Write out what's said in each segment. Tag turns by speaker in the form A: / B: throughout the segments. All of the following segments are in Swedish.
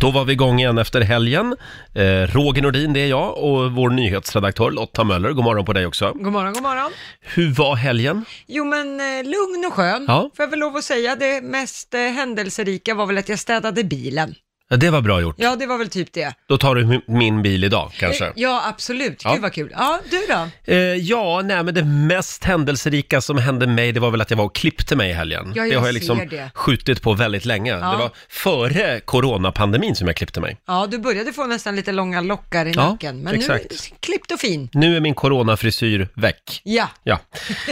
A: Då var vi igång igen efter helgen. Eh, Roger Nordin, det är jag, och vår nyhetsredaktör Lotta Möller. God morgon på dig också.
B: God morgon, god morgon.
A: Hur var helgen?
B: Jo men eh, lugn och skön,
A: Ja.
B: får jag väl lov att säga. Det mest eh, händelserika var väl att jag städade bilen.
A: Ja, det var bra gjort.
B: Ja, det var väl typ det.
A: Då tar du mi- min bil idag, kanske.
B: Eh, Ja, absolut.
A: Ja.
B: Gud vad kul. Ja, du då?
A: Eh, ja, nej men det mest händelserika som hände mig, det var väl att jag var och klippte mig i helgen.
B: Ja, jag
A: det har
B: ser
A: jag liksom
B: det.
A: skjutit på väldigt länge. Det var före coronapandemin som jag klippte mig.
B: Ja, du började få nästan lite långa lockar i
A: Ja,
B: nacken, men nu
A: exakt.
B: klippt och fin.
A: Nu är min coronafrisyr väck.
B: Ja,
A: Ja,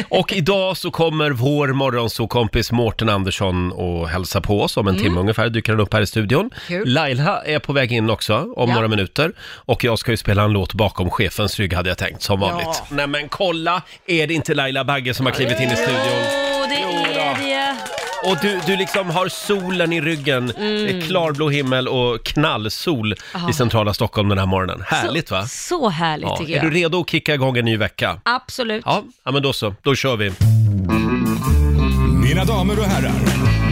A: och idag så kommer vår morgonsåkompis Mårten Andersson och hälsa på oss. Om en
C: Mm.
A: timme ungefär dyker han upp här i studion.
B: Kul.
A: Laila är på väg in också om
B: Ja.
A: några minuter. Och jag ska ju spela en låt bakom chefens rygg hade jag tänkt, som vanligt.
B: Ja.
A: Nej men kolla, är det inte Laila Bagge som har klivit in i studion?
C: Jo, det är det.
A: Och du, du liksom har solen i ryggen, det
C: Mm.
A: är klarblå himmel och knallsol i centrala Stockholm den här morgonen. Härligt va?
C: Så härligt
A: Ja.
C: tycker
A: Är du
C: jag.
A: redo att kicka igång en ny vecka?
C: Absolut.
A: Ja, ja men då så, då kör vi.
D: Mina damer och herrar,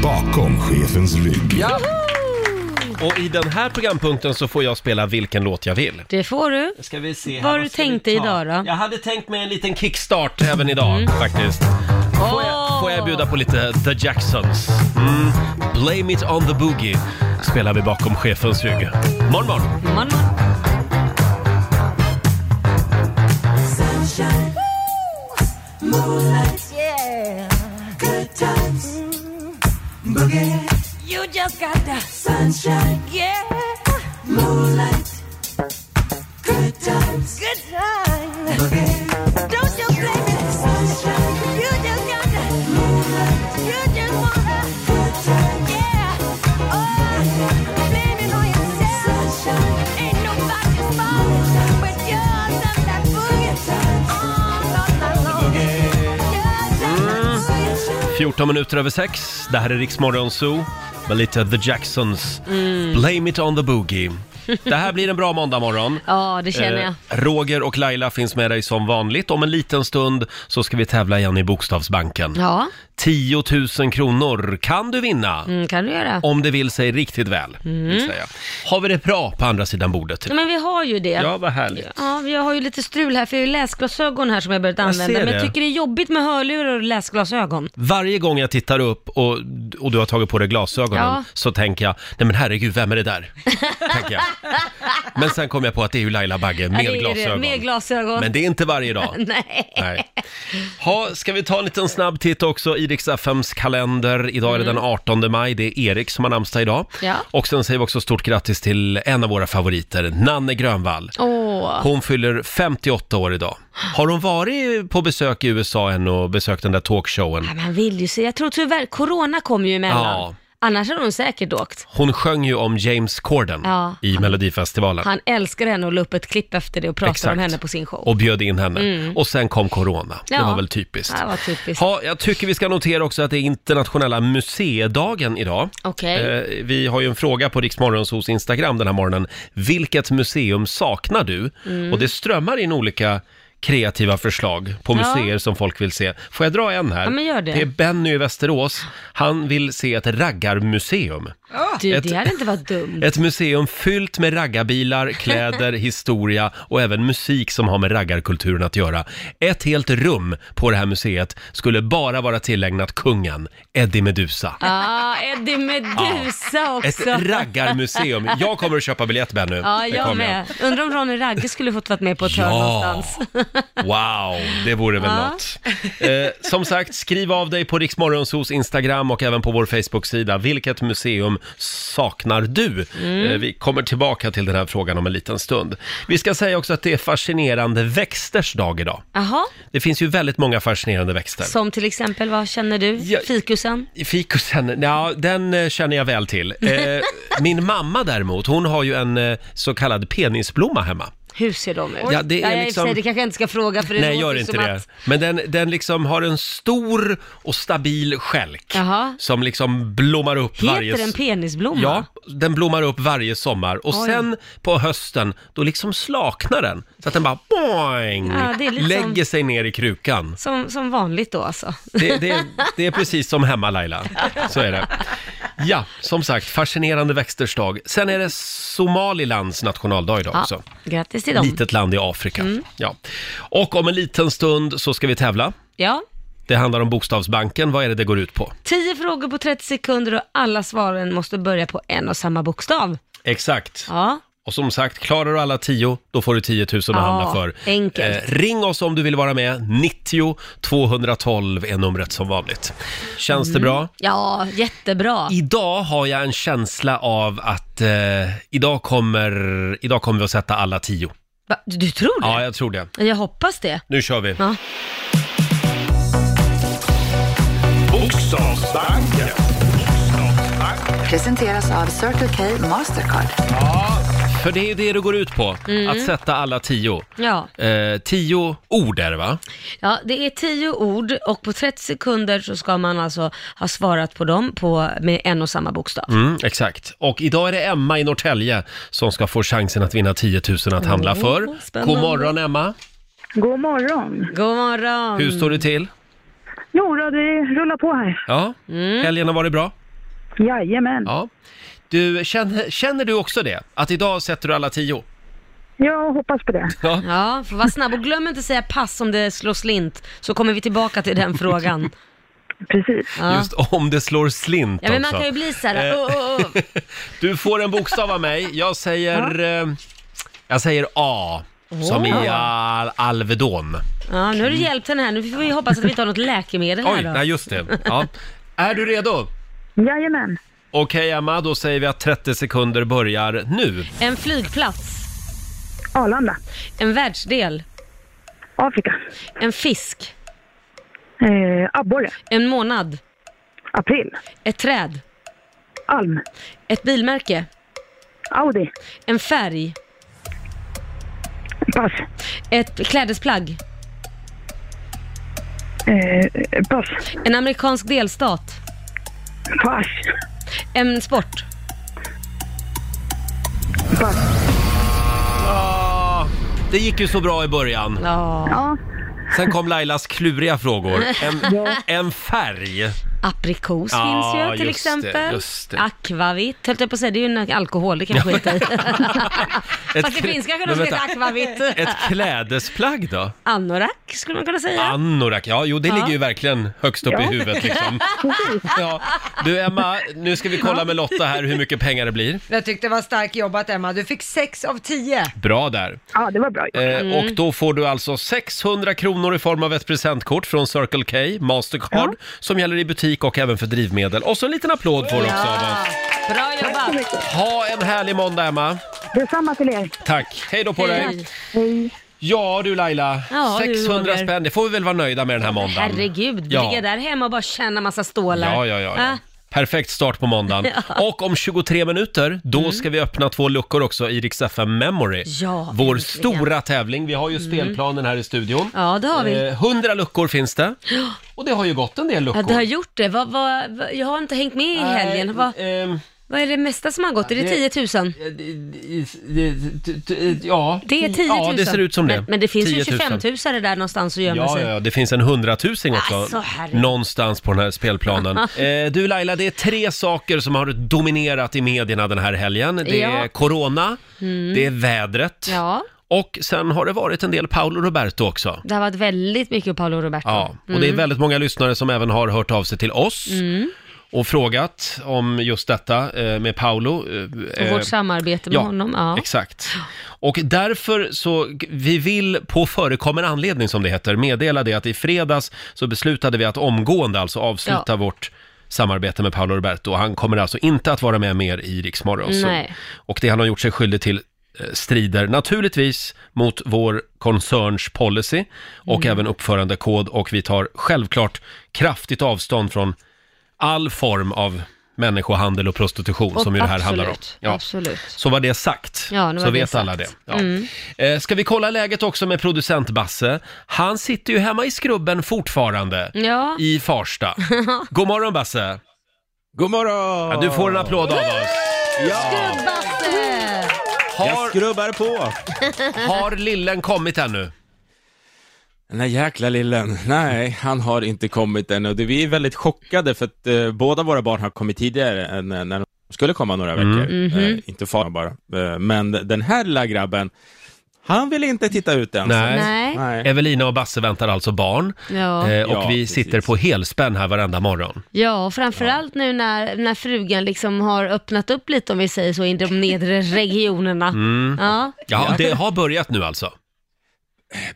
D: bakom chefens rygg.
A: Och i den här programpunkten så får jag spela vilken låt jag vill.
C: Det får du.
A: Ska vi se här,
C: Vad har
A: vad
C: du
A: ska vi
C: tänkt dig
A: ta?
C: idag då? Mm.
A: Jag hade tänkt mig en liten kickstart även idag faktiskt. Får jag, får jag bjuda på lite The Jacksons? Mm. Blame it on the boogie spelar vi bakom chefens rygg. Morgon, morgon.
C: Man, You just got that sunshine, yeah. Good time. Don't you blame it. You just got that. You just want that. Yeah. Oh, blame it on yourself. Ain't nobody's fault but yours and that boogie. Oh, All night long. Yours and
A: Mm.
C: that boogie.
A: 14 minuter över sex. Det här är Rix Morgon Zoo med lite The Jacksons.
C: Mm.
A: Blame it on the boogie. Det här blir en bra måndagmorgon.
C: Ja, det känner jag.
A: Eh, Roger och Laila finns med dig som vanligt. Om en liten stund så ska vi tävla igen i Bokstavsbanken.
C: Ja,
A: 10 000 kronor kan du vinna.
C: mm, kan du göra.
A: Om det vill sig riktigt väl, vill
C: Mm.
A: säga. Har vi det bra på andra sidan bordet?
C: Nej, men vi har ju det.
A: Ja,
C: Ja.
A: vad härligt.
C: jag har ju lite strul här för jag har ju läsglasögon här som jag börjat använda.
A: ser
C: Men jag
A: det.
C: tycker det är jobbigt med hörlurar och läsglasögon.
A: Varje gång jag tittar upp och, och du har tagit på dig glasögonen
C: Ja.
A: så tänker jag, nej men herregud, vem är det där? tänker jag. Men sen kom jag på att det är ju Laila Bagge med
C: Ja, det är det.
A: glasögon.
C: Med glasögon.
A: Men det är inte varje dag.
C: Nej.
A: Nej. Ha, ska vi ta en liten snabb titt också i Rix FMs kalender. Idag är det den 18 maj, det är Erik som har namnsdag idag.
C: Mm. Ja.
A: Och sen säger vi också stort grattis till en av våra favoriter, Nanne Grönvall.
C: Åh,
A: Hon fyller 58 år idag. Har hon varit på besök i USA än och besökt den där talkshowen?
C: ja, man vill ju se. Jag tror tyvärr, corona kom ju emellan.
A: Ja.
C: Annars hade hon säkert åkt.
A: Hon sjöng ju om James Corden
C: Ja.
A: i Melodifestivalen.
C: Han älskar henne och la upp ett klipp efter det och pratade
A: Exakt.
C: om henne på sin show. Mm.
A: Och bjöd in henne. Och sen kom corona. Det
C: Ja.
A: var väl typiskt.
C: Ja, det var typiskt.
A: Ja, jag tycker vi ska notera också att det är internationella museidagen idag.
C: Okej.
A: Eh, vi har ju en fråga på Riksmorgonsos Instagram den här morgonen. Vilket museum saknar du?
C: Mm.
A: Och det strömmar in olika kreativa förslag på
C: Ja.
A: museer som folk vill se. Får jag dra en här?
C: Ja, men gör det.
A: är Benny i Västerås. Han vill se ett raggarmuseum.
C: Du,
A: Ett-
C: det hade inte varit dumt.
A: Ett museum fyllt med raggarbilar, kläder, historia och även musik som har med raggarkulturen att göra. Ett helt rum på det här museet skulle bara vara tillägnat kungen, Eddie Meduza.
C: Ja, Eddie Meduza
A: Ett
C: också.
A: raggarmuseum. Jag kommer att köpa biljett Benny.
C: ja,
A: Det kommer
C: jag med. Undrar om Ronny Ragge skulle fått vara med på ett hörn någonstans.
A: Wow, det vore väl
C: Ja.
A: något. Eh, som sagt, skriv av dig på Riksmorgonsos Instagram och även på vår Facebook-sida. Vilket museum saknar du?
C: Mm.
A: Eh, vi kommer tillbaka till den här frågan om en liten stund. Vi ska säga också att det är fascinerande växters dag idag.
C: Jaha,
A: Det finns ju väldigt många fascinerande växter.
C: som till exempel, vad känner du?
A: Ja.
C: Fikusen?
A: Fikusen, ja, den eh, känner jag väl till. Eh, min mamma däremot, hon har ju en eh, så kallad penisblomma hemma.
C: Hur ser de ut?
A: Ja, det är
C: jag i och för
A: liksom-
C: sig, det kanske jag inte ska fråga för det
A: Nej,
C: låter
A: gör
C: ju
A: inte
C: som
A: det.
C: att...
A: Men den, den liksom har en stor och stabil stjälk
C: Jaha.
A: som liksom blommar upp
C: Heter
A: varje...
C: den penisblomma?
A: Ja, den blommar upp varje sommar och
C: Oj.
A: sen på hösten då liksom slaknar den så att den bara boing,
C: Ja, det är lite
A: lägger sig ner i krukan.
C: Som, som vanligt då alltså.
A: Det, det, det är precis som hemma Laila, så är det. Ja, som sagt, fascinerande växters dag. Sen är det Somalilands nationaldag idag också.
E: Grattis till dem.
A: Litet land i Afrika.
C: Mm.
A: Ja. Och om en liten stund så ska vi tävla.
E: Ja.
A: Det handlar om Bokstavsbanken. Vad är det det går ut på?
E: 10 frågor på 30 sekunder och alla svaren måste börja på en och samma bokstav.
A: Exakt.
E: Ja,
A: Och som sagt, klarar du alla 10, då får du 10 000 att
E: Ja,
A: handla för. Eh,
E: enkelt.
A: ring oss om du vill vara med. 90 212 är numret som vanligt. Känns
E: Mm.
A: det bra?
E: ja jättebra.
A: Idag har jag en känsla av att eh, idag, kommer, idag kommer vi att sätta alla 10.
E: Va, Du, du tror det?
A: Ja, jag tror det.
E: jag... hoppas det.
A: Nu kör vi.
E: Ja.
D: Bokstavsbanken.
F: Presenteras av Circle K Mastercard.
A: För det är ju det det går ut på,
E: Mm.
A: att sätta alla 10.
E: Ja.
A: Eh, 10 ord är det va?
E: ja, det är 10 ord och på 30 sekunder så ska man alltså ha svarat på dem på, med en och samma bokstav.
A: Mm, exakt. Och idag är det Emma i Norrtälje som ska få chansen att vinna 10 000 att handla
E: Åh,
A: för.
E: spännande.
A: God morgon Emma!
G: God morgon.
E: God morgon.
A: Hur står det till?
G: Jo, då, det rullar på här.
A: Ja,
E: Mm.
A: helgen har varit bra.
G: Jajamän.
A: Ja. Du, känner, känner du också det? Att idag sätter du alla 10?
G: Jag hoppas på det.
A: Ja.
E: Ja, får vara snabb och glöm inte säga pass om det slår slint så kommer vi tillbaka till den frågan.
G: Precis.
E: Ja.
A: Just om det slår slint
E: Ja, men man
A: också.
E: kan ju bli så
A: Eh.
E: här. "Åh, åh, åh."
A: Du får en bokstav av mig. Jag säger... eh, Jag säger A. Som i al- Alvedon.
E: Ja, nu har du hjälpt henne här. Nu får vi hoppas att vi inte har något läkemedel här
A: Oj,
E: då.
A: nej just det. Ja. Är du redo?
G: Jajamän.
A: Okej Emma, då säger vi att 30 sekunder börjar nu.
E: En flygplats,
G: Arlanda.
E: en världsdel,
G: Afrika.
E: en fisk,
G: Eh, Abborre.
E: en månad,
G: April.
E: ett träd,
G: Alm.
E: ett bilmärke,
G: Audi.
E: en färg,
G: Pass.
E: ett klädesplagg,
G: Eh, pass.
E: en amerikansk delstat,
G: Pass.
E: en sport.
G: Pass.
A: Ah, det gick ju så bra i början.
E: Ja,
G: Ja,
A: Sen kom Lailas kluriga frågor. En, en färg.
E: aprikos
A: Ja,
E: finns ju till
A: just det,
E: exempel.
A: just det.
E: Akvavitt, höll jag på att säga. Det är ju en alkohol, det kan jag skita i.
A: Ett
E: Fast det
A: klä-
E: finns kanske
A: Men
E: något
A: vänta,
E: som heter akvavitt.
A: Ett klädesplagg då?
E: Anorak skulle man kunna säga.
A: Anorak, ja jo det ligger ju verkligen högst upp i
G: Ja.
A: huvudet liksom. Ja. Du Emma, nu ska vi kolla med Lotta här hur mycket pengar det blir.
B: Jag tyckte det var starkt jobbat Emma, du fick sex av tio.
A: Bra där.
G: ja det var bra.
A: Eh, Och då får du alltså 600 kronor i form av ett presentkort från Circle K, Mastercard, som gäller i butik och även för drivmedel. Och så en liten applåd får du också av oss.
E: Bra jobbat.
A: Ha en härlig måndag Emma.
G: Detsamma till er.
A: Tack, hej då på dig.
E: Hej.
G: Hej.
A: Ja du Laila,
E: Ja, du,
A: 600
E: Roger.
A: spänn, det får vi väl vara nöjda med den här måndagen.
E: Herregud,
A: Ja.
E: ligga där hemma och bara känna massa stålar.
A: Ja, ja, ja. ja.
E: Ah,
A: Perfekt start på måndagen. Och om 23 minuter, då ska vi öppna två luckor också i Rix FM Memory.
E: Mm. Ja,
A: Vår
E: äntligen. Mm.
A: stora tävling. Vi har ju spelplanen här i studion.
E: ja, det har vi.
A: Eh, 100 luckor finns det. Och det har ju gått en del luckor. Eh,
E: Ja, det har gjort det. Vad, vad, vad, jag har inte hängt med i helgen. Vad,
A: Nej, ehm,
E: vad är det mesta som har gått? Är det 10 000?
A: eh, d- d- d- d- Ja,
E: Det är 10 000.
A: Ja, det ser ut som det.
E: Men, men det finns
A: 10
E: ju
A: 000.
E: 25 000 där någonstans att gömma
A: Ja,
E: sig.
A: ja, ja, det finns en hundratusing också.
E: Alltså, herregud.
A: någonstans på den här spelplanen. eh, du Laila, det är tre saker som har dominerat i medierna den här helgen. Det är
E: Ja. Mm.
A: corona, det är vädret
E: Ja.
A: och sen har det varit en del Paolo Roberto också.
E: Det har varit väldigt mycket Paolo Roberto.
A: Ja, och
E: Mm.
A: det är väldigt många lyssnare som även har hört av sig till oss. och frågat om just detta eh, med Paolo.
E: Och
A: eh,
E: vårt samarbete med honom. Ja.
A: exakt. Och därför så, vi vill på förekommande anledning som det heter, meddela det att i fredags så beslutade vi att omgående alltså avsluta
E: Ja.
A: vårt samarbete med Paolo Roberto. Han kommer alltså inte att vara med mer i Rix Morgon Zoo.
E: Nej.
A: Och det han har gjort sig skyldig till eh, strider naturligtvis mot vår koncerns policy och
E: Mm.
A: även uppförandekod och vi tar självklart kraftigt avstånd från all form av människohandel och prostitution
E: Och
A: som ju det här
E: absolut,
A: handlar om.
E: absolut.
A: Så var det sagt.
E: Ja, nu var
A: så
E: det
A: vet
E: sagt. Mm.
A: alla det. Ja. Eh, Ska vi kolla läget också med producent Basse? Han sitter ju hemma i skrubben fortfarande.
E: Ja.
A: I Farsta. God morgon Basse!
H: God morgon!
A: Ja, du får en applåd av oss.
H: Ja,
E: Basse!
H: jag
A: Har,
H: skrubbar på.
A: har lillen kommit ännu?
H: Den här jäkla lillen, nej, han har inte kommit ännu. Det- Vi är väldigt chockade för att eh, båda våra barn har kommit tidigare än eh, när de skulle komma några
A: Mm.
H: veckor. Eh,
E: Mhm.
H: inte fara bara. Eh, men den här lilla grabben, han vill inte titta ut än.
A: Nej.
E: Nej.
H: nej.
A: Evelina och Basse väntar alltså barn
E: Ja.
A: eh, och
H: Ja,
A: vi
H: precis.
A: sitter på helspänn här varenda morgon.
E: Ja, och framförallt nu när, när frugan liksom har öppnat upp lite om vi säger så i de nedre regionerna.
H: Mm.
E: Ja.
A: Ja, det har börjat nu alltså.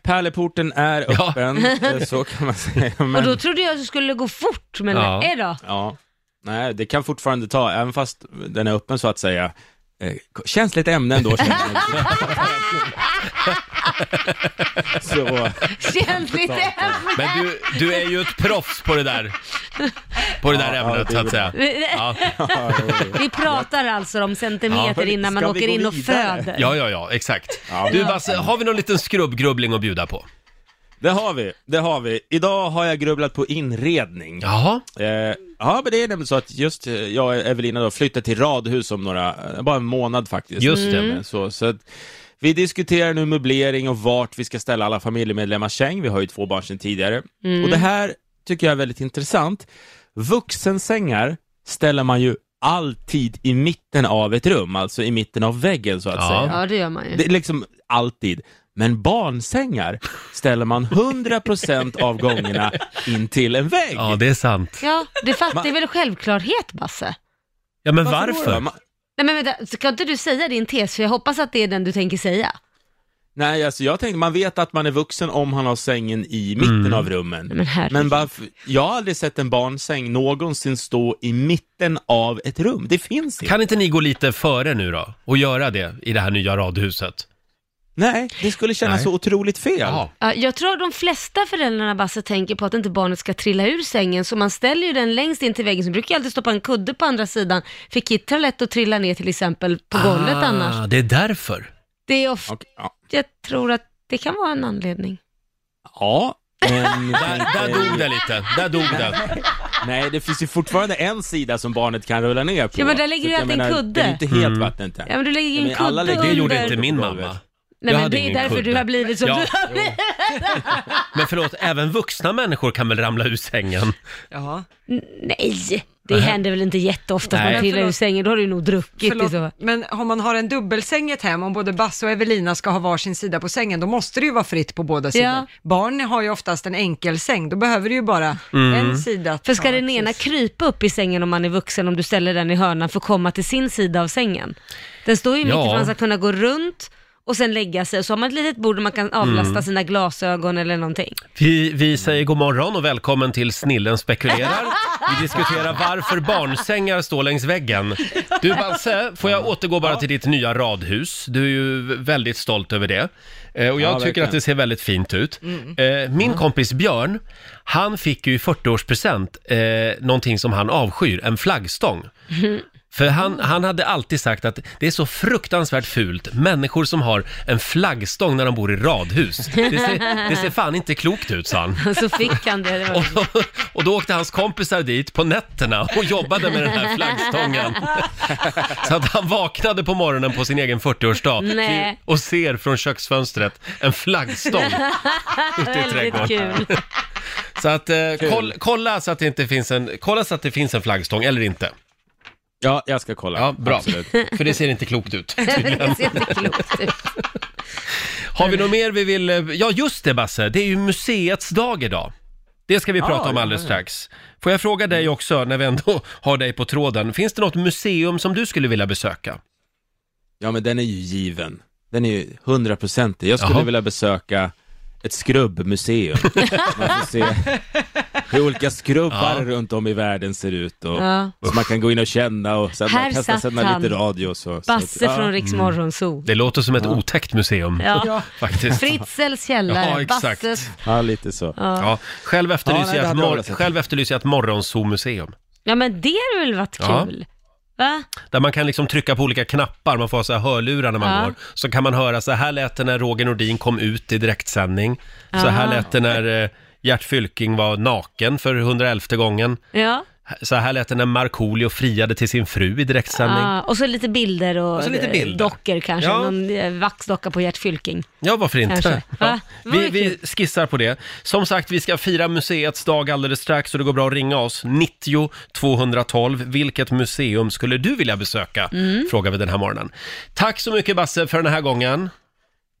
H: Pärleporten är
A: Ja.
H: öppen, eh, så kan man säga. Men,
E: Och då trodde jag att det skulle gå fort, men
A: Ja.
E: nej då.
H: ja, nej, det kan fortfarande ta, även fast den är öppen så att säga. Eh, känsligt ämne ändå, känner jag. så,
E: Känsligt ämne.
A: Men du, du är ju ett proffs på det där, på det där
H: Ja, ja,
A: ämnet
H: det är
A: så att säga.
H: bra.
A: Ja,
H: ja, jo, jo.
E: Vi pratar alltså om centimeter
H: Ja.
E: innan man
H: Ska vi
E: åker
H: gå
E: in och
H: vidare?
E: föder.
A: ja, ja, ja exakt.
H: Ja.
A: Du Basse, har vi någon liten skrubbgrubbling att bjuda på?
H: Det har vi, det har vi. Idag har jag grubblat på inredning. Ja,
A: Jaha,
H: eh, ja men det är nämligen så att just eh, jag och Evelina då flyttar till radhus om några, eh, bara en månad faktiskt.
A: Just det. Mm.
H: Så, så att vi diskuterar nu möblering och vart vi ska ställa alla familjemedlemmars säng. Vi har ju två barn sedan tidigare.
A: Mm.
H: Och det här tycker jag är väldigt intressant. Vuxensängar ställer man ju alltid i mitten av ett rum, alltså i mitten av väggen så att
A: Ja.
H: säga.
E: Ja, det gör man ju.
H: Det är liksom alltid. Men barnsängar ställer man 100% av gångerna in till en vägg.
A: ja det är sant.
E: Ja, det fattar det är väl självklarhet, Basse?
A: Ja, men
H: då?
A: varför?
H: Man-
E: Nej men vänta, ska inte du säga din tes? För jag hoppas att det är den du tänker säga.
H: Nej, alltså jag tänkte, man vet att man är vuxen om han har sängen i mitten av rummen.
E: Men herregud.
H: Men varför, jag har aldrig sett en barnsäng någonsin stå i mitten av ett rum. Det finns inte.
A: Kan inte ni gå lite före nu då och göra det i det här nya radhuset?
H: Nej, det skulle kännas
A: Nej.
H: så otroligt fel.
A: Ja.
E: Ja, jag tror att de flesta föräldrarna Basse tänker på att inte barnet ska trilla ur sängen, så man ställer ju den längst in till väggen. Så brukar jag alltid stoppa en kudde på andra sidan, för Kit har lätt att trilla ner till exempel
A: Ah.
E: på golvet annars.
A: Det är därför.
E: Det är ofta,
H: Okej, ja.
E: jag tror att det kan vara en anledning.
H: ja. Men,
A: Där, där dog det lite, där dog det.
H: Nej, det finns ju fortfarande en sida som barnet kan rulla ner på.
E: Ja, men där ligger
H: Så
E: ju
H: jag
E: alltid en
H: menar,
E: kudde.
H: Det är ju inte helt vattentät.
E: Ja men du lägger ju
H: Ja,
E: en
H: men
E: kudde
H: alla lägger-
E: under.
A: Det gjorde inte min
H: Golvet.
A: mamma.
E: Nej
A: Jag
E: men
A: hade
E: det är
A: ingen
E: därför
A: kudde.
E: du har blivit som
A: Ja.
E: du har blivit.
A: Men förlåt, även vuxna människor kan väl ramla ur sängen?
B: Ja.
E: Nej, det händer väl inte jätteofta att
A: Nej.
E: man trillar ur
B: Förlåt.
E: sängen, då har du ju nog druckit i så.
B: Förlåt, men om man har en dubbelsäng i ett hem, om både Basse och Evelina ska ha varsin sida på sängen, då måste det ju vara fritt på båda sidor. Barn har ju oftast en enkelsäng, då behöver du ju bara en sida. att
E: För ska
B: ta,
E: den
B: precis.
E: ena krypa upp i sängen om man är vuxen, om du ställer den i hörnan för att komma till sin sida av sängen? Den står ju mitt
A: Ja.
E: i för att man ska kunna gå runt och sen lägga sig, och så har man ett litet bord där man kan avlasta
A: Mm.
E: sina glasögon eller någonting.
A: Vi, vi säger god morgon och välkommen till Snillen spekulerar. Vi diskuterar varför barnsängar står längs väggen. Du Basse, får jag återgå bara till ditt nya radhus? Du är ju väldigt stolt över det. Eh, Och jag
H: Ja,
A: tycker
H: verkligen. Mm.
A: att det ser väldigt fint ut. Eh, Min kompis Björn, han fick ju i 40-årspresent eh, någonting som han avskyr, en flaggstång. För
E: Ah.
A: han, han hade alltid sagt att det är så fruktansvärt fult, människor som har en flaggstång när de bor i radhus. Det ser, det ser fan inte klokt ut, sa han.
E: Så fick han det. det var...
A: Och, och då åkte hans kompisar dit på nätterna och jobbade med den här flaggstången. Så att han vaknade på morgonen på sin egen 40-årsdag
E: Nej.
A: och ser från köksfönstret en flaggstång ute i
E: Väldigt
A: trädgården.
E: kul.
A: Så att eh, koll, kolla, så att det inte finns en, kolla så att det finns en flaggstång eller inte.
H: Ja, jag ska kolla.
A: Ja, bra.
H: Absolut.
A: För det ser inte klokt ut.
E: Det ser jätteklokt ut.
A: Har vi något mer vi vill... eh, Ja, just det Basse, det är ju museets dag idag. Det ska vi prata om
H: Ah, ja, Mm.
A: alldeles strax. Får jag fråga dig också, när vi ändå har dig på tråden, finns det något museum som du skulle vilja besöka?
H: Ja, men den är ju given. Den är ju hundraprocentig. Jag skulle
A: Jaha.
H: vilja besöka ett skrubbmuseum. man får se hur olika skrubbar
A: Ja.
H: runt om i världen ser ut och
E: Ja.
H: så man kan gå in och känna och sen
E: Här
H: man testar
E: satt
H: sända lite
E: han.
H: radio och så.
E: Basse
H: så att,
E: från
H: ja.
E: Riks
A: Mm.
E: Morgonzoo.
A: Det låter som ett otäckt museum,
E: Ja.
A: faktiskt.
E: Fritzels källare,
A: Ja, exakt.
E: Basses.
H: ja, lite så.
A: Ja. Själv,
H: Ja,
A: efterlyser
H: nej, det
A: jag ett
H: hade jag
A: mor-
H: velat se.
A: själv efterlyser jag ett morgonzoo-museum.
E: Ja men det hade väl varit
A: Ja.
E: kul? Va?
A: Där man kan liksom trycka på olika knappar, man får ha så här hörlurar när man
E: Ja.
A: går. Så kan man höra, så här lät det när Roger Nordin kom ut i direktsändning. Så här
E: Aha.
A: lät det när eh, Gert Fylking var naken för 111 gången.
E: Ja.
A: Så här lät det när Markoolio friade till sin fru i direktsändning.
E: Ah, och så lite bilder och,
A: Och så lite
E: eh,
A: bilder.
E: dockor kanske,
A: Ja.
E: någon eh, vaxdocka på Gert Fylking.
A: Ja, varför inte?
E: Kanske.
A: Ja.
E: Va? Det var
A: Vi,
E: ju
A: vi skissar på det. Som sagt, vi ska fira museets dag alldeles strax och det går bra att ringa oss. 90 212. Vilket museum skulle du vilja besöka?
E: Mm.
A: Frågar vi den här morgonen. Tack så mycket Basse för den här gången.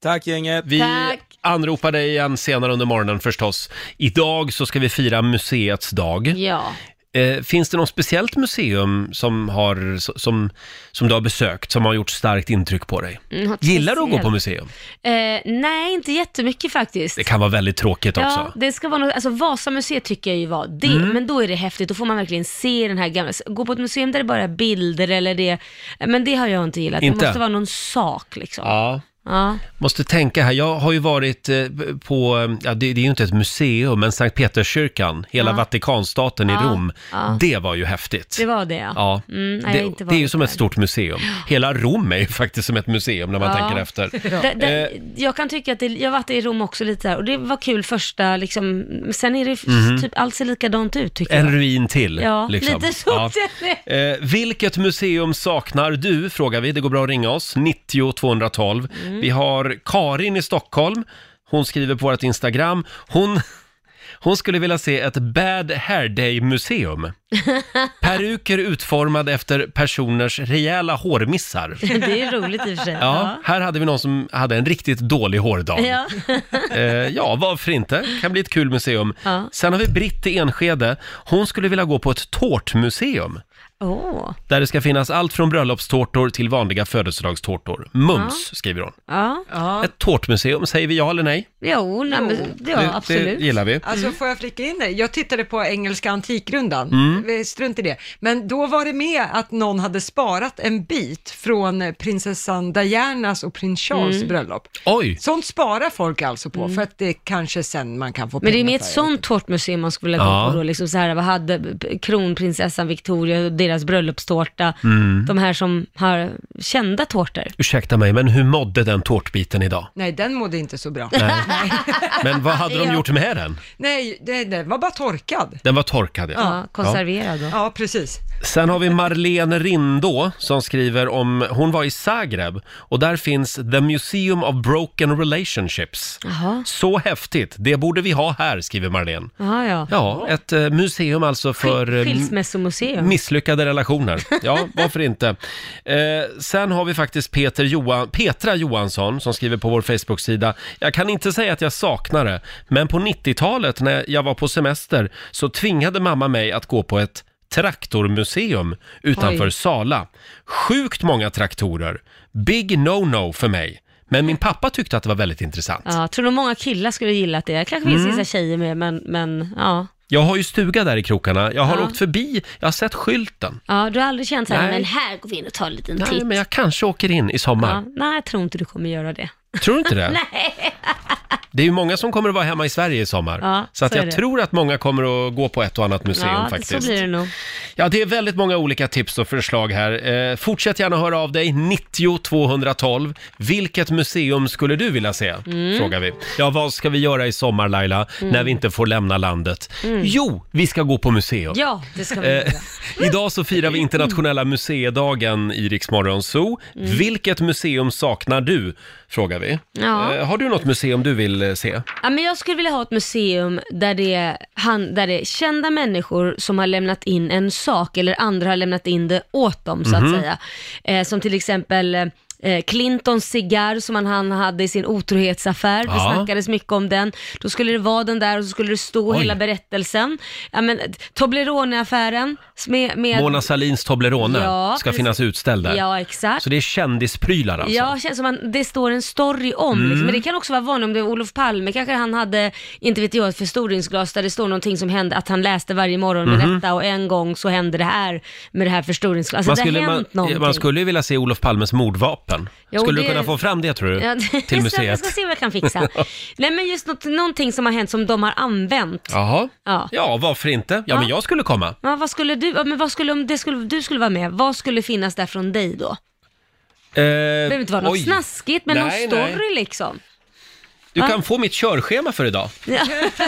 H: Tack gänget!
A: Vi
E: Tack.
A: anropar dig igen senare under morgonen förstås. Idag så ska vi fira museets dag.
E: Ja.
A: Eh, finns det något speciellt museum som, har, som, som du har besökt som har gjort starkt intryck på dig?
E: Mm,
A: Gillar du att gå på
E: speciellt.
A: museum?
E: Eh, nej, inte jättemycket faktiskt.
A: Det kan vara väldigt tråkigt
E: Ja,
A: också. Mm.
E: det ska vara något, alltså Vasamuseet tycker jag ju var det, men då är det häftigt, då får man verkligen se den här gamla, gå på ett museum där det bara är bilder eller det, men det har jag inte gillat.
A: Inte?
E: Det måste vara någon sak liksom. Ja.
A: Ja. Måste tänka här, jag har ju varit eh, på, eh, ja, det, det är ju inte ett museum, men Sankt Peterskyrkan, hela Vatikanstaten i
E: Ja,
A: Rom.
E: ja.
A: Det var ju häftigt.
E: det var det ja.
A: Ja,
E: Mm, nej, jag har
A: det,
E: inte
A: det är ju
E: varit
A: som ett
E: där.
A: stort museum. Hela Rom är ju faktiskt som ett museum när man
E: Ja.
A: tänker efter.
E: Det, det,
A: Eh.
E: jag kan tycka att det, jag har varit i Rom också lite där och det var kul första liksom, men sen är det f- typ allt ser likadant ut tycker
A: Mhm. Eh, En
E: jag.
A: ruin till.
E: Ja,
A: liksom.
E: lite så
A: Ja.
E: känner jag.
A: Eh, vilket museum saknar du, frågar vi. Det går bra att ringa oss, 90 212.
E: Mm.
A: Vi har Karin i Stockholm. Hon skriver på vårt Instagram. Hon, hon skulle vilja se ett Bad Hair Day-museum. Peruker utformade efter personers rejäla hårmissar.
E: Det är roligt i och för sig.
A: Ja, här hade vi någon som hade en riktigt dålig hårdag.
E: Ja.
A: Eh, ja, varför inte? Kan bli ett kul museum.
E: Ja.
A: Sen har vi Britt i Enskede. Hon skulle vilja gå på ett tårtmuseum.
E: Åh.
A: Där det ska finnas allt från bröllopstårtor till vanliga födelsedagstårtor. Mums, skriver hon.
E: Ja.
B: Ja.
A: Ett tårtmuseum, säger vi ja eller nej?
E: Jo, nej, men, ja,
A: det,
E: absolut.
A: Det gillar vi.
B: Alltså
E: Mm.
B: får jag flika in det? Jag tittade på engelska antikrundan, Vi strunt i det. Men då var det med att någon hade sparat en bit från eh, prinsessan Dianas och prins Charles
E: Mm.
B: bröllop.
A: Oj!
B: Sånt sparar folk alltså på för att det kanske sen man kan få pengar
E: Men det är mer ett
B: för.
E: sånt tårtmuseum man skulle vilja
A: Ja.
E: gå på då, liksom så här, vad hade p- kronprinsessan Victoria och deras bröllopstårta,
A: Mm.
E: de här som har kända tårtor.
A: Ursäkta mig, men hur mådde den tårtbiten idag?
B: Nej, den mådde inte så bra.
A: Nej. Men vad hade de
E: Ja.
A: gjort med den?
B: Nej, det, den var bara torkad.
A: Den var torkad,
E: Ja, konserverad då.
B: Ja, precis.
A: Sen har vi Marlene Rindå som skriver om, hon var i Zagreb och där finns The Museum of Broken Relationships.
E: Jaha,
A: Så häftigt, det borde vi ha här, skriver Marlene.
E: Jaha ja.
A: Ja, ett eh, museum alltså för
E: Skil-
A: eh,
E: Skilsmässomuseum.
A: misslyckade relationer. Ja, varför inte? Eh, sen har vi faktiskt Peter Johan, Petra Johansson som skriver på vår Facebook-sida. Jag kan inte säga att jag saknar det, men på 90-talet när jag var på semester så tvingade mamma mig att gå på ett traktormuseum utanför
E: Oj.
A: Sala. Sjukt många traktorer. Big no-no för mig. Men min pappa tyckte att det var väldigt intressant.
E: Ja, tror nog många killar skulle gilla det. Kanske finns
A: Mm.
E: vissa tjejer med, men, men ja.
A: Jag har ju stuga där i krokarna. Jag har
E: Ja.
A: åkt förbi, jag har sett skylten.
E: ja. Du har aldrig känt så här,
A: Nej.
E: men här går vi in och tar en liten
A: Nej,
E: titt.
A: men jag kanske åker in i sommar.
E: ja, nej, jag tror inte du kommer göra det.
A: Tror du inte det? Nej. Det är ju många som kommer att vara hemma i Sverige i sommar.
E: Ja,
A: så att
E: så är
A: jag
E: det.
A: tror att många kommer att gå på ett och annat museum
E: ja,
A: faktiskt.
E: så blir det nog.
A: Ja, det är väldigt många olika tips och förslag här. Eh, fortsätt gärna höra av dig, 90 212. Vilket museum skulle du vilja se?
E: Mm.
A: Frågar vi. Ja, vad ska vi göra i sommar Laila, när vi inte får lämna landet? Jo, vi ska gå på museum.
E: Mm. Ja, det ska vi
A: Eh,
E: göra.
A: Idag så firar vi internationella museidagen i Rix Morgon Zoo.
E: Mm.
A: Vilket museum saknar du? Frågar vi.
E: Ja.
A: Eh, har du något museum du vill eh, se?
E: Ja, men jag skulle vilja ha ett museum där det, han, där det är kända människor som har lämnat in en sak eller andra har lämnat in det åt dem så
A: Mhm.
E: att säga. Eh, som till exempel eh, Clintons cigarr som han, han hade i sin otrohetsaffär. Det
A: Ja.
E: snackades mycket om den. Då skulle det vara den där och så skulle det stå
A: Oj.
E: hela berättelsen. Ja, men, Toblerone-affären med... med
A: Mona Salins Toblerone
E: Ja,
A: ska
E: precis.
A: finnas utställd där.
E: Ja, exakt.
A: Så det är kändisprylar alltså? Mm.
E: Ja, känns som att det står en story om. Liksom. Men det kan också vara vanligt om det är Olof Palme. Kanske han hade, inte vet jag, ett förstoringsglas där det står någonting som hände, att han läste varje morgon
A: Mhm.
E: med detta och en gång så hände det här med det här förstoringsglaset.
A: Man
E: Alltså, det
A: skulle,
E: har
A: man,
E: hänt någonting.
A: man skulle ju vilja se Olof Palmes mordvapen.
E: Jo,
A: skulle du
E: det-
A: kunna få fram det tror du?
E: Ja, det-
A: till
E: jag ska- Jag
A: museet?
E: ska se vad jag kan fixa. Nej men just något, någonting som har hänt som de har använt. Ja.
A: Jaha.
E: Ja.
A: Ja, varför inte? Ja, men jag skulle komma. Eh,
E: vad skulle du, ja, men vad skulle, om det skulle, du skulle vara med, vad skulle finnas där från dig då?
A: Eh,
E: Det behöver inte vara något
A: oj.
E: snaskigt, men
A: Nej,
E: någon
A: nej.
E: story liksom.
A: Du
E: Va?
A: kan få mitt körschema för idag.
E: Ja,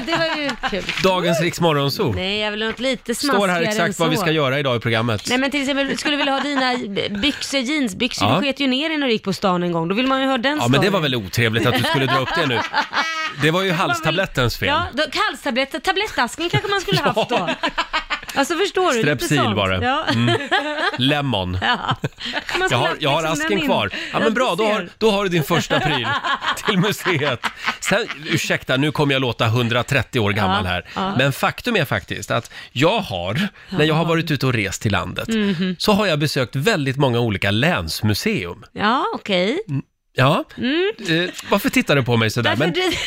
E: det var ju kul.
A: Dagens Riks Morgonzoo.
E: Nej, jag vill ha något lite smaskigare
A: Står här
E: än
A: exakt
E: så.
A: vad vi ska göra idag i programmet.
E: Nej men till exempel, du skulle vilja ha dina byxor, jeansbyxor,
A: Ja.
E: du sket ju ner dig när du gick på stan en gång. Då vill man ju ha den
A: Ja, men det
E: storyn.
A: var väl otrevligt att du skulle dra upp det nu. Det var ju halstablettens fel.
E: Ja, då, halstabletter, tablettasken kanske man skulle haft då. Alltså förstår du? lite
A: Strepsil
E: sånt.
A: var det.
E: Ja.
A: Lemon.
E: Ja. Man
A: Jag
E: skulle
A: har,
E: haft
A: jag har
E: liksom den
A: asken
E: in.
A: kvar. Ja, men
E: du
A: bra, då har,
E: ser.
A: då har du din första pryl till museet. Sen, ursäkta, nu kommer jag låta 130 år gammal
E: Ja,
A: här.
E: ja.
A: Men faktum är faktiskt att jag har, när jag har varit ute och rest i landet,
E: Mhm.
A: så har jag besökt väldigt många olika länsmuseum.
E: Ja, okej.
A: Mm. Ja, eh, varför tittar du på mig sådär?
E: Mm. Därför
A: Men
E: du,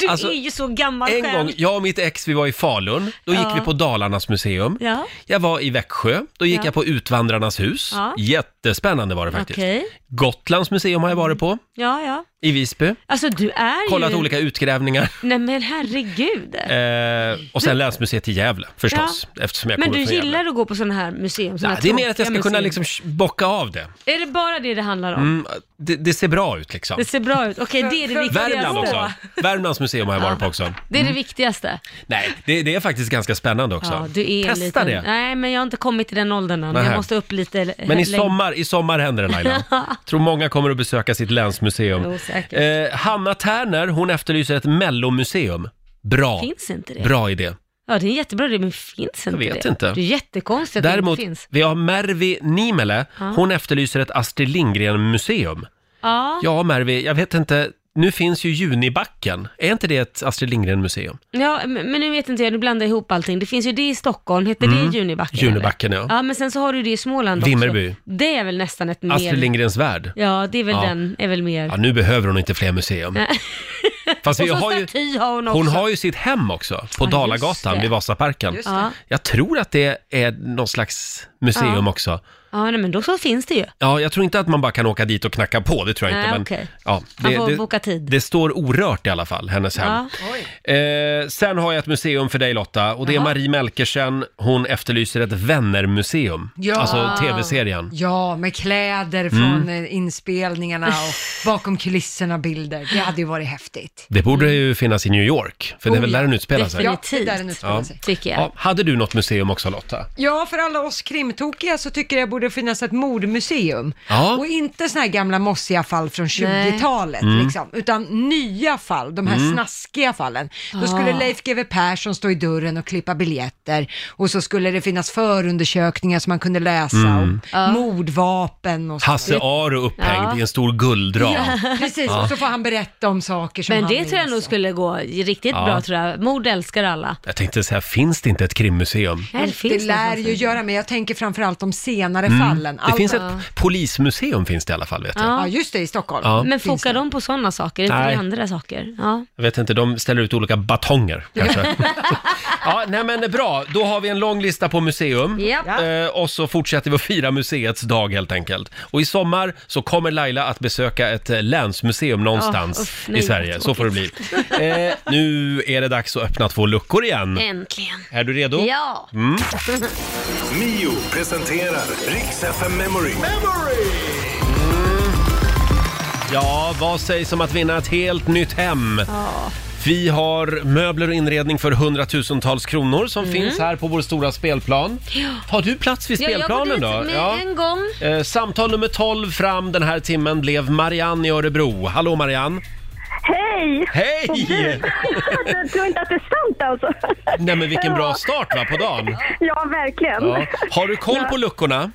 E: du
A: Alltså,
E: är ju så gammal
A: en
E: själv.
A: gång, jag och mitt ex, vi var i Falun, då
E: Ja.
A: gick vi på Dalarnas museum.
E: Ja,
A: Jag var i Växjö, då gick
E: Ja.
A: jag på Utvandrarnas hus.
E: Ja.
A: Jättespännande var det faktiskt.
E: okej.
A: Gotlands museum har jag varit på,
E: Ja, ja.
A: i Visby.
E: Alltså du är
A: kollat
E: ju...
A: olika utgrävningar.
E: Nej men herregud.
A: Eh, och sen Länsmuseet i Gävle förstås, eftersom jag
E: Men
A: kommer
E: du
A: från Gävle.
E: gillar att gå på sådana här museum? Såna
A: Nej,
E: här
A: det är mer att jag
E: tråkiga
A: ska kunna
E: museum.
A: liksom sh- bocka av det.
E: Är det bara det det handlar om?
A: Mm, det. Det ser bra ut liksom.
E: Det ser bra ut. Okej, det är det viktigaste.
A: Värmland också. Mm. Värmlands museum har jag varit på också.
E: Det är det viktigaste.
A: Nej, det, det är faktiskt ganska spännande också.
E: Ja, du är en
A: Testa
E: liten...
A: det.
E: Nej, men jag har inte kommit till den åldern än.
A: Nähä.
E: Jag måste upp lite l-
A: Men i
E: längre.
A: sommar, i sommar händer det Laila. Tror många kommer att besöka sitt länsmuseum.
E: Jo, säkert.
A: eh, Hanna Tärner, hon efterlyser ett mellomuseum. Bra,
E: Finns inte det?
A: bra idé.
E: Ja, det är en jättebra idé, men finns inte det?
A: vet inte.
E: Det är jättekonstigt att
A: Däremot,
E: det inte finns.
A: vi har Mervi Niemele. Hon efterlyser ett Astrid Lindgren-museum.
E: Ja,
A: Ja, Mervi, jag vet inte. Nu finns ju Junibacken. Är inte det ett Astrid Lindgren-museum?
E: ja, m- men nu vet inte jag, nu blandar jag ihop allting. Det finns ju det i Stockholm, heter det Junibacken? eller?
A: Mm. Junibacken, ja.
E: Ja, men sen så har du det i Småland
A: Vimmerby.
E: också. Det är väl nästan ett mer...
A: Astrid Lindgrens värld.
E: Ja, det är väl
A: Ja.
E: den, är väl mer...
A: Ja, nu behöver hon inte fler museum. Fast
E: Och
A: vi
E: så
A: har ju,
E: staty har hon också.
A: hon har ju sitt hem också, på
E: just
A: Dalagatan
E: det.
A: vid Vasaparken.
B: Just
E: Ja,
A: Jag tror att det är någon slags museum
E: Ja.
A: också.
E: ja nej, men då så finns det ju.
A: Ja, jag tror inte att man bara kan åka dit och knacka på, det tror jag inte.
E: Nej,
A: Men,
E: okej.
A: ja,
E: Man
A: det,
E: får
A: det,
E: boka tid.
A: det står orört i alla fall, hennes hem.
E: Ja.
A: Eh, sen har jag ett museum för dig Lotta och det är
E: Jaha.
A: Marie Melkersen. Hon efterlyser ett vännermuseum.
B: Ja.
A: Alltså tv-serien.
B: Ja, med kläder från eh, inspelningarna och bakom kulisserna bilder. Det hade ju varit häftigt.
A: Det borde ju finnas i New York, för det är väl
B: Oh ja.
A: där den utspelar sig.
B: Ja,
E: Definitivt.
B: det där den utspelar
A: Ja.
B: sig.
E: Tycker jag.
A: Ja, hade du något museum också Lotta?
B: Ja, för alla oss krimtokiga så tycker jag borde finnas ett mordmuseum.
A: Ja.
B: Och inte såna här gamla mossiga fall från 20-talet, liksom, utan nya fall, de här snaskiga fallen. Då skulle Leif GW Persson stå i dörren och klippa biljetter och så skulle det finnas förundersökningar som man kunde läsa om, mordvapen och så.
A: Hasse Aro upphängd
E: Ja.
A: i en stor guldram.
B: Precis, och så får han berätta om saker som
E: Men
B: han
E: det tror jag
B: minns.
E: nog skulle gå riktigt
A: alltså. Ja.
E: bra tror jag. Mord älskar alla.
A: Jag tänkte så här, finns det inte ett krimmuseum?
E: Här
B: Det
E: finns
B: lär
E: någonstans.
B: ju göra, men jag tänker framförallt de senare fallen.
A: Mm. Det
B: Allt-
A: finns ett polismuseum finns det i alla fall vet jag.
B: Ja, just det, i Stockholm.
A: Ja.
E: Men
B: Finns
E: fokar de på sådana saker, inte
A: Nej.
E: på andra saker? Ja.
A: Jag vet inte, de ställer ut olika batonger kanske. ja, nej men bra, då har vi en lång lista på museum.
E: Japp.
A: Eh, och så fortsätter vi att fira museets dag helt enkelt. Och i sommar så kommer Laila att besöka ett eh, länsmuseum någonstans
E: Ah, uff, nej,
A: i
E: vad
A: Sverige. Så får det bli. Eh, nu är det dags att öppna två luckor igen.
E: Äntligen.
A: Är du redo?
E: Eh. Ja.
A: Mm.
D: Mm. Mio presenterar Riks FM Memory.
A: Ja, vad sägs om att vinna ett helt nytt hem? Vi har möbler och inredning för hundratusentals kronor som finns här på vår stora spelplan. Har du plats vid
E: Ja, jag går
A: spelplanen
E: dit
A: då?
E: med en gång.
A: Eh, samtal nummer 12 fram den här timmen blev Marianne i Örebro. Hallå Marianne!
G: Hej!
A: Hej!
G: Jag tror inte att det är sant alltså.
A: Nej men vilken bra
G: Ja.
A: start va, på dagen!
G: Ja, verkligen.
A: Ja. Har du koll på luckorna?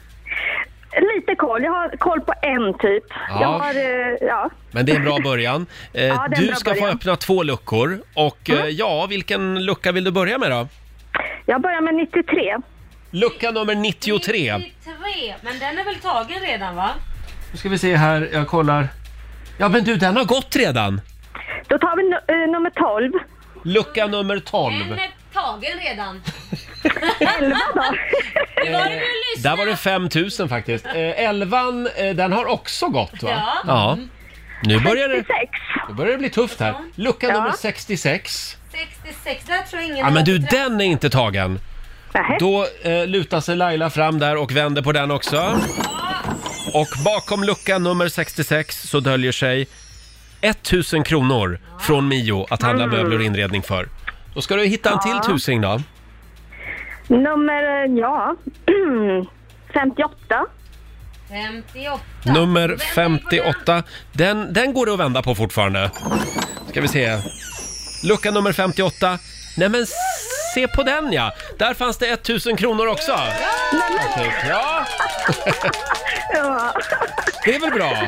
G: Lite koll. Jag har koll på en typ.
A: Ja.
G: Jag har, eh, ja.
A: Men det är en bra början. Eh,
G: Ja, det är en
A: du
G: bra
A: ska få
G: början.
A: öppna två luckor och eh, ja, vilken lucka vill du börja med då?
G: Jag börjar med 93.
A: Lucka nummer 93.
E: 93, men den är väl tagen redan va?
A: Nu ska vi se här, jag kollar. Ja men du, den har gått redan!
G: Då tar vi nu- eh, nummer 12.
A: Lucka nummer 12.
E: är tagen redan.
G: 11 då.
E: Det var det du
A: Där var det 5000 faktiskt. Eh, elvan, eh, den har också gått va?
E: Ja.
A: Nu börjar det,
G: 66.
A: nu börjar det bli tufft här. Lucka
G: Ja.
A: nummer 66.
E: 66, där tror jag ingen
A: Ja men du, den är inte tagen!
G: Nähä.
A: Då eh, lutar sig Laila fram där och vänder på den också. Och bakom lucka nummer 66 så döljer sig 1000 kronor från Mio att handla
G: Mm.
A: möbler och inredning för. Då ska du hitta en till tusing då.
G: Nummer, eh, ja, 58.
E: 58.
A: Nummer 58. Den, den går det att vända på fortfarande. Ska vi se. Lucka nummer 58. Nej men se på den ja! Där fanns det 1000 kronor också. Okej, Ja,
G: Ja,
A: det är väl bra.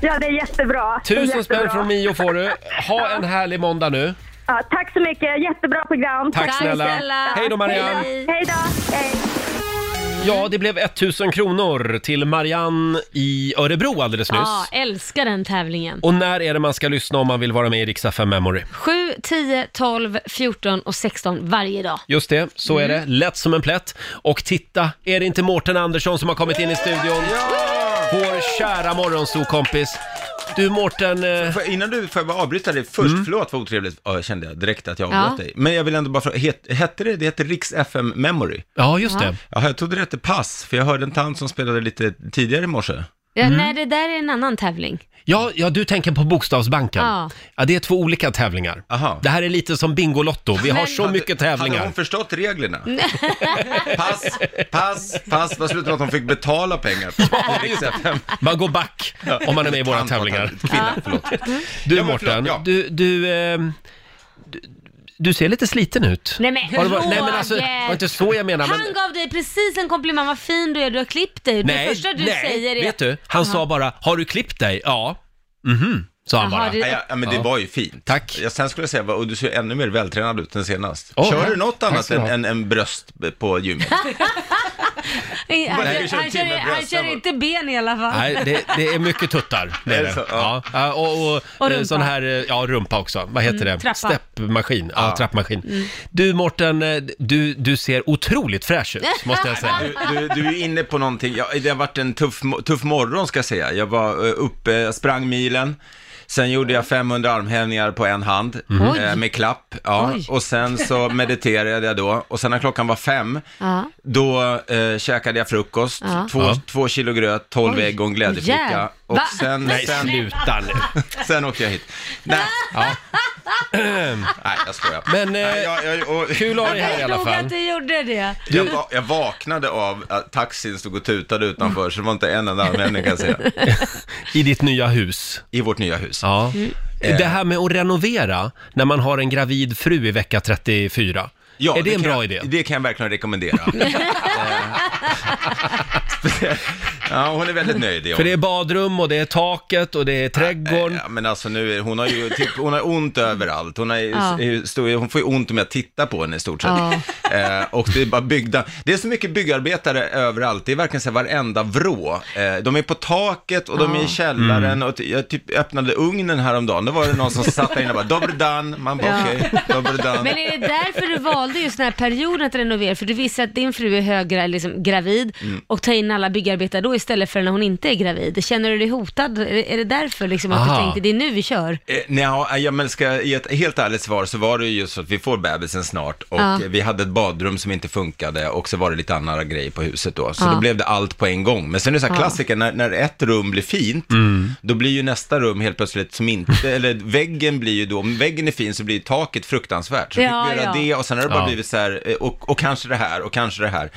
G: ja det är jättebra. Det är
A: Tusen
G: jättebra.
A: spänn från Mio får du. Ha en härlig måndag nu.
G: Ja, tack så mycket, jättebra program.
A: Tack snälla. Hej då Marianne.
G: Hej då. Hej.
A: Ja, det blev 1000 kronor till Marianne i Örebro alldeles nyss.
E: Ja, älskar den tävlingen.
A: Och när är det man ska lyssna om man vill vara med i Riksa 5 Memory?
E: 7, 10, 12, 14 och 16 varje dag.
A: Just det, så är
E: Mm.
A: det. Lätt som en plätt. Och titta, är det inte Mårten Andersson som har kommit in i studion? Vår kära morgonsokompis. Du Mårten, eh,
I: Får jag- Innan du, får jag bara avbryta dig först?
D: Mm.
I: Förlåt vad otrevligt, ja, jag kände jag direkt att jag
E: Ja.
I: avbröt dig. Men jag vill ändå bara fråga, het, hette det, det heter Riks FM Memory?
A: ja just det.
I: Ja, jag trodde det hette Pass, för jag hörde en tant som spelade lite tidigare i morse.
E: Ja,
A: Mm.
E: Nej, det där är en annan tävling.
A: Ja, ja, du tänker på Bokstavsbanken. Ja.
E: Ja.
A: det är två olika tävlingar.
I: Aha.
A: Det här är lite som Bingolotto, vi har så mycket
I: Hade
A: tävlingar.
I: hon förstått reglerna? pass, pass, pass. Vad slutade med att hon fick betala pengar för Riks FM.
A: Man går back om man är med i våra
I: Tant var
A: tävlingar.
I: tant. Kvinna, förlåt.
A: Du
I: Ja, men
A: Mårten,
I: förlåt, ja.
A: du, du, ehm, du, du ser lite sliten ut.
E: Nej men
A: Har det varit- nej men alltså, det
E: Roger!
A: var inte så jag menar.
E: Han
A: Men,
E: gav dig precis en komplimang, vad fin du är, du har klippt dig.
A: nej,
E: det första du
A: nej,
E: säger är...
A: vet du? Han sa bara, har du klippt dig? Ja. Mhm, sa han
E: Jaha,
A: bara.
E: det-
I: Nej, ja, ja, men det var ju fint.
A: Tack.
I: Ja, sen skulle jag säga, vad- och du ser ännu mer vältränad ut än senast.
A: Åh,
I: Kör
A: tack.
I: du något
A: Tack
I: annat
A: ska du
I: än,
A: ha.
I: än, än bröst på gymmet?
E: Nej, Han,
I: Nej, vi kör
E: kör, han,
I: till med
E: kör, han
I: brösten.
E: kör inte ben i alla fall.
A: Nej, det, det är mycket tuttar. Det är
I: Är det
A: det.
I: så?
A: Ja.
I: Ja.
A: Ja, och, och,
E: Och
A: eh,
E: rumpa. Mm,
A: sån här, eh, ja rumpa också. Vad heter det?
E: trappa. Mm.
A: Steppmaskin. Ja, trappmaskin. Du Mårten, eh, du, du ser otroligt fräsch ut, måste jag säga.
I: Du, du, du är inne på någonting, ja, det har varit en tuff, mo- tuff morgon ska jag säga. Jag var eh, uppe, jag sprang milen, sen gjorde jag 500 armhävningar på en hand
A: Mhm.
I: eh, med klapp. Ja. Och sen så mediterade jag då, och sen när klockan var fem,
E: Ja.
I: då eh, käkade jag frukost,
E: Ja.
I: två,
A: Ja.
I: två kilo gröt, tolv
E: Oj.
I: ägg och en
E: Åh, jävlar.
I: glädjeflicka. Och
E: Va?
I: sen,
A: Nej,
I: sen,
A: sluta nu.
I: sen åkte jag hit. Nej,
A: Ja.
I: nej jag skojar.
A: Men, eh,
I: Nej, jag, jag, och,
A: Kul att ha dig här i alla
E: Jag
A: fall.
E: att du gjorde det.
I: jag, va- jag vaknade av att taxin stod och tutade utanför, så det var inte en enda armhävning kan jag säga.
A: I ditt nya hus.
I: I vårt nya hus.
A: Ja.
E: Mm.
A: Eh, Det här med att renovera när man har en gravid fru i vecka 34. är det en
I: kan
A: bra
I: jag,
A: idé?
I: Det kan jag verkligen rekommendera. Eh, ja, hon är väldigt nöjd. är hon.
A: För det är badrum och det är taket och det är trädgården.
I: Ja, men alltså nu, är- hon har ju typ, hon har ont överallt. Hon, har, ju-
E: Ja.
I: är ju stor, hon får ju ont om jag tittar på henne i stort sett.
E: Ja.
I: Eh, och det är bara byggda, det är så mycket byggarbetare överallt. Det är verkligen så här varenda vrå. Eh, de är på taket och de är i källaren
E: Mm.
I: och ty- jag typ öppnade ugnen häromdagen. Då var det någon som satt där inne och bara, dobredan. Man bara,
E: Ja.
I: okej, dobredan.
E: Men är det därför du valde just den här perioden att renovera? För du visste att din fru är högra, liksom, gravid och ta in alla byggarbetare då istället för när hon inte är gravid. Känner du dig hotad? Är det- Är det därför liksom, att
A: Aha.
E: du tänkte det är nu vi kör?
I: Eh, Nej, ja, men ska jag ge ett helt ärligt svar så var det ju just att vi får bebisen snart och
E: Ja.
I: eh, vi hade ett badrum som inte funkade och så var det lite andra grejer på huset då. Så
E: Ja.
I: då blev det allt på en gång. Men sen är det så här klassiker, när, när ett rum blir fint, då blir ju nästa rum helt plötsligt som inte, eller väggen blir ju då, om väggen är fin så blir ju taket fruktansvärt. Så
E: Ja,
I: fick vi göra
E: ja.
I: det och sen har det bara
A: Ja.
I: blivit så här, eh, och, och kanske det här och kanske det här.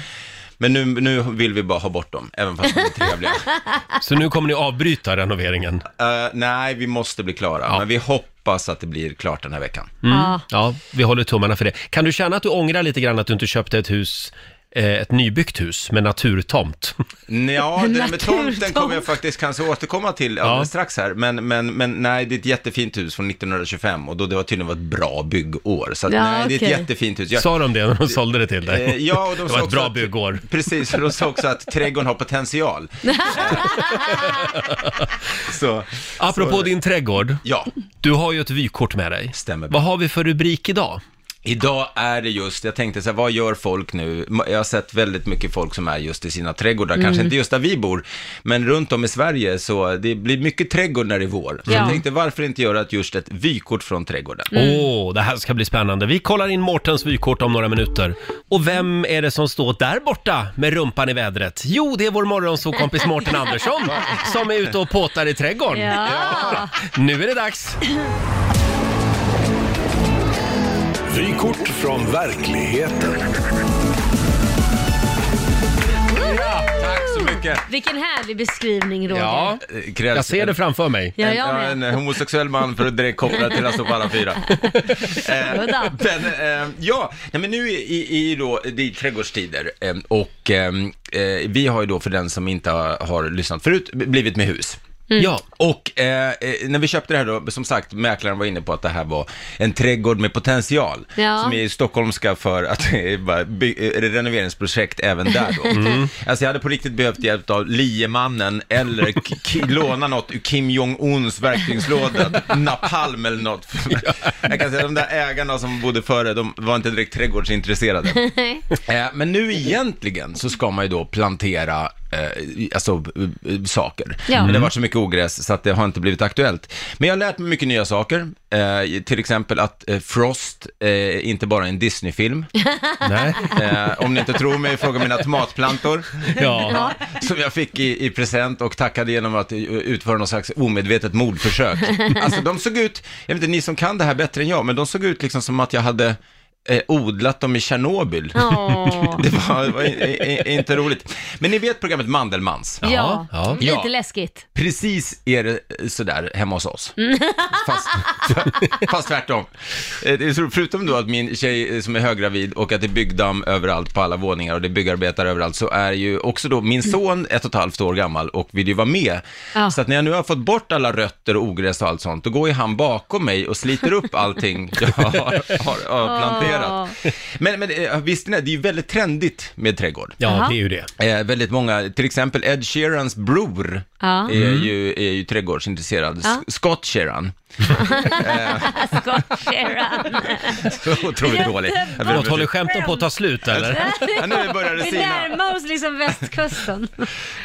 I: Men nu, nu vill vi bara ha bort dem, även fast de är trevliga.
A: Så nu kommer ni avbryta renoveringen.
I: Eh, nej, vi måste bli klara, men vi hoppas att det blir klart den här veckan.
E: Ja.
A: Ja, vi håller tummarna för det. Kan du känna att du ångrar lite grann att du inte köpte ett hus, eh, ett nybyggt hus med naturtomt?
I: Ja, det där med tomten
E: Naturtomt.
I: kommer jag faktiskt kanske återkomma till alldeles strax här. Men, men, men nej, det är ett jättefint hus från 1925 och då det var tydligen var ett bra byggår. Så att,
E: Ja,
I: nej, det är ett
E: okej.
I: jättefint hus. Jag,
A: Sa de det när de sålde det till
I: eh,
A: dig?
I: ja, och de
A: det
I: sa
A: var ett
I: också
A: bra
I: att-
A: byggår.
I: Precis, för de sa också att trädgården har potential. Eh, Så,
A: Apropå
I: så-
A: din trädgård,
I: ja.
A: du har ju ett vykort med dig.
I: Stämmer bra.
A: Vad har vi för rubrik idag?
I: Idag är det just, jag tänkte så här, vad gör folk nu? Jag har sett väldigt mycket folk som är just i sina trädgårdar,
E: Mm.
I: kanske inte just där vi bor, men runt om i Sverige så det blir mycket trädgård när det är vår. Så jag tänkte, varför inte göra ett, just ett vykort från trädgården?
A: Åh, det här ska bli spännande. Vi kollar in Mårtens vykort om några minuter. Och vem är det som står där borta med rumpan i vädret? Jo, det är vår morgonsåkompis Mårten Andersson som är ute och påtar i trädgården.
E: Ja.
A: Nu är det dags!
D: Vykort från verkligheten.
I: Tack så mycket!
E: Vilken härlig beskrivning Roger.
A: Ja,
I: Eh, Krävs
A: jag ser det framför mig.
E: Mm. Ja, jag
I: en,
E: med.
I: en eh, homosexuell man för att direkt koppla till alltså på alla fyra. Eh,
E: Udda.
I: men, eh, ja, nej, men nu i, i, då, det är trädgårdstider eh, och ehm, eh, vi har ju då för den som inte har, har lyssnat förut blivit med hus.
A: Ja.
I: Och eh, eh, när vi köpte det här då, som sagt, mäklaren var inne på att det här var en trädgård med potential.
E: Ja.
I: Som är stockholmska för att det är bara by- eh, renoveringsprojekt även där då. Alltså jag hade på riktigt behövt hjälp av liemannen eller k- k- låna något ur Kim Jong-Uns verktygslåda, napalm eller något. jag kan säga de där ägarna som bodde före, de var inte direkt trädgårdsintresserade. Eh, Men nu egentligen så ska man ju då plantera eh, alltså, eh, eh, saker.
E: Ja.
I: Men det har varit så mycket ogräs så att det har inte blivit aktuellt. Men jag har lärt mig mycket nya saker. Eh, till exempel att eh, Frost eh, inte bara är en Disney-film.
A: Nej.
I: Eh, om ni inte tror mig, fråga mina tomatplantor.
A: Ja.
I: Som jag fick i, i present och tackade genom att eh, utföra någon slags omedvetet mordförsök. Alltså de såg ut, jag vet inte, ni som kan det här bättre än jag, men de såg ut liksom som att jag hade eh, odlat dem i Tjernobyl.
E: Åh.
I: Det var, det var i- i- i- inte roligt. Men ni vet programmet Mandelmans?
E: Ja.
A: Ja.
E: lite
I: Ja.
E: läskigt.
I: Precis är det eh, sådär hemma hos oss.
E: Mm.
I: Fast, fast tvärtom. Eh, det är så- Förutom då att min tjej eh, som är höggravid och att det är byggdamm överallt på alla våningar och det är byggarbetare överallt så är ju också då min son ett och ett halvt år gammal och vill ju vara med.
E: Mm. Ja.
I: Så att när jag nu har fått bort alla rötter och ogräs och allt sånt, då går ju han bakom mig och sliter upp allting jag har, har, har planterat. Men, men eh, visst ni, det är ju väldigt trendigt med trädgård.
A: ja, det är ju det.
I: Eh, väldigt många, till exempel Ed Sheerans bror
E: Ja. Mm.
I: är, ju, är ju trädgårdsintresserad. S-
E: Ja.
I: Scott Sheeran.
E: Alltså, Scott Sheeran.
I: Så Otroligt dålig. Jag ber om
A: Förlåt, håller
I: ursäkt.
A: skämten på att ta slut eller?
I: Ja, nu börjar det
E: Vi
I: sina.
E: närmar oss liksom västkusten.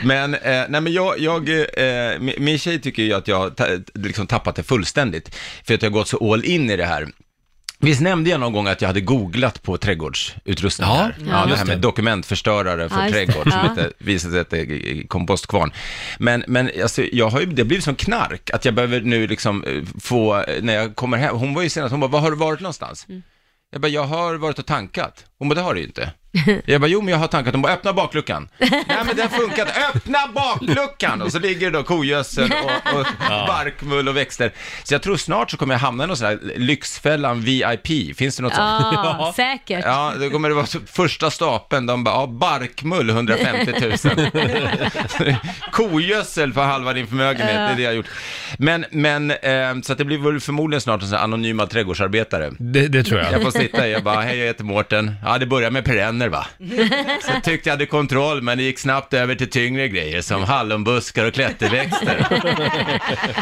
I: Men, eh, nej, men jag, jag eh, min, min tjej tycker ju att jag har ta, liksom tappat det fullständigt, för att jag har gått så all in i det här. Visst nämnde jag någon gång att jag hade googlat på trädgårdsutrustningar?
A: Ja,
I: ja,
A: ja,
I: det
A: just
I: här
A: det.
I: med dokumentförstörare för
E: Ja, just det.
I: trädgård som
E: Ja.
I: inte visade sig att det är kompostkvarn. Men, men alltså, jag har ju, det har blivit som knark, att jag behöver nu liksom eh, få, eh, när jag kommer hem, hon var ju senast, hon bara, var har du varit någonstans? Jag bara, jag har varit och tankat. Hon bara, det har du ju inte. Jag bara, jo men jag har tankat. Hon bara, öppna bakluckan. Nej men den funkar inte. Öppna bakluckan! Och så ligger det då kogödsel och, och barkmull och växter. Så jag tror snart så kommer jag hamna i någon sån här Lyxfällan VIP. Finns det något sånt?
E: Ja, säkert.
I: Ja, då kommer det vara så- första stapeln, de bara, ja, barkmull 150 000. Kogödsel för halva din förmögenhet, det är det jag har gjort. Men, men, eh, så att det blir väl förmodligen snart en sån här anonyma trädgårdsarbetare.
A: Det, det tror jag.
I: Jag får sitta i, jag bara, hej jag heter Mårten. Ja, det började med perenner va? Så tyckte jag hade kontroll, men det gick snabbt över till tyngre grejer som hallonbuskar och klätterväxter.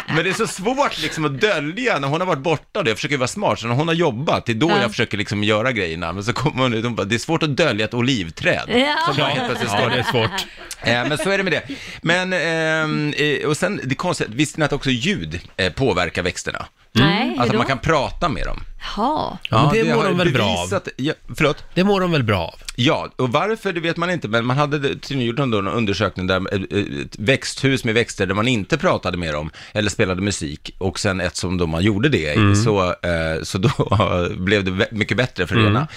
I: Men det är så svårt liksom att dölja när hon har varit borta då. Jag försöker vara smart, så när hon har jobbat, det är då jag försöker liksom göra grejerna. Men så kommer hon ut och hon bara, det är svårt att dölja ett olivträd.
E: Ja.
I: Som bara helt plötsligt
A: Ja,
I: står
A: det är svårt.
I: Eh, men så är det med det. Men, ehm, eh, och sen, det konstiga, visste ni att också ljud eh, påverkar växterna?
E: Nej, hur då?
I: Alltså att man kan prata med dem.
E: Jaha.
A: Men det mår
I: har
A: de väl bra av?
I: bevisat, ja, Förlåt?
A: Det mår de väl bra av?
I: Ja, och varför det vet man inte, men man hade tydligen gjort någon undersökning där eh, eh, ett växthus med växter där man inte pratade med dem eller spelade musik och sen ett som då man gjorde det i,
A: Mm.
I: så, eh, så då blev det vä- mycket bättre för
A: Mm.
I: det ena.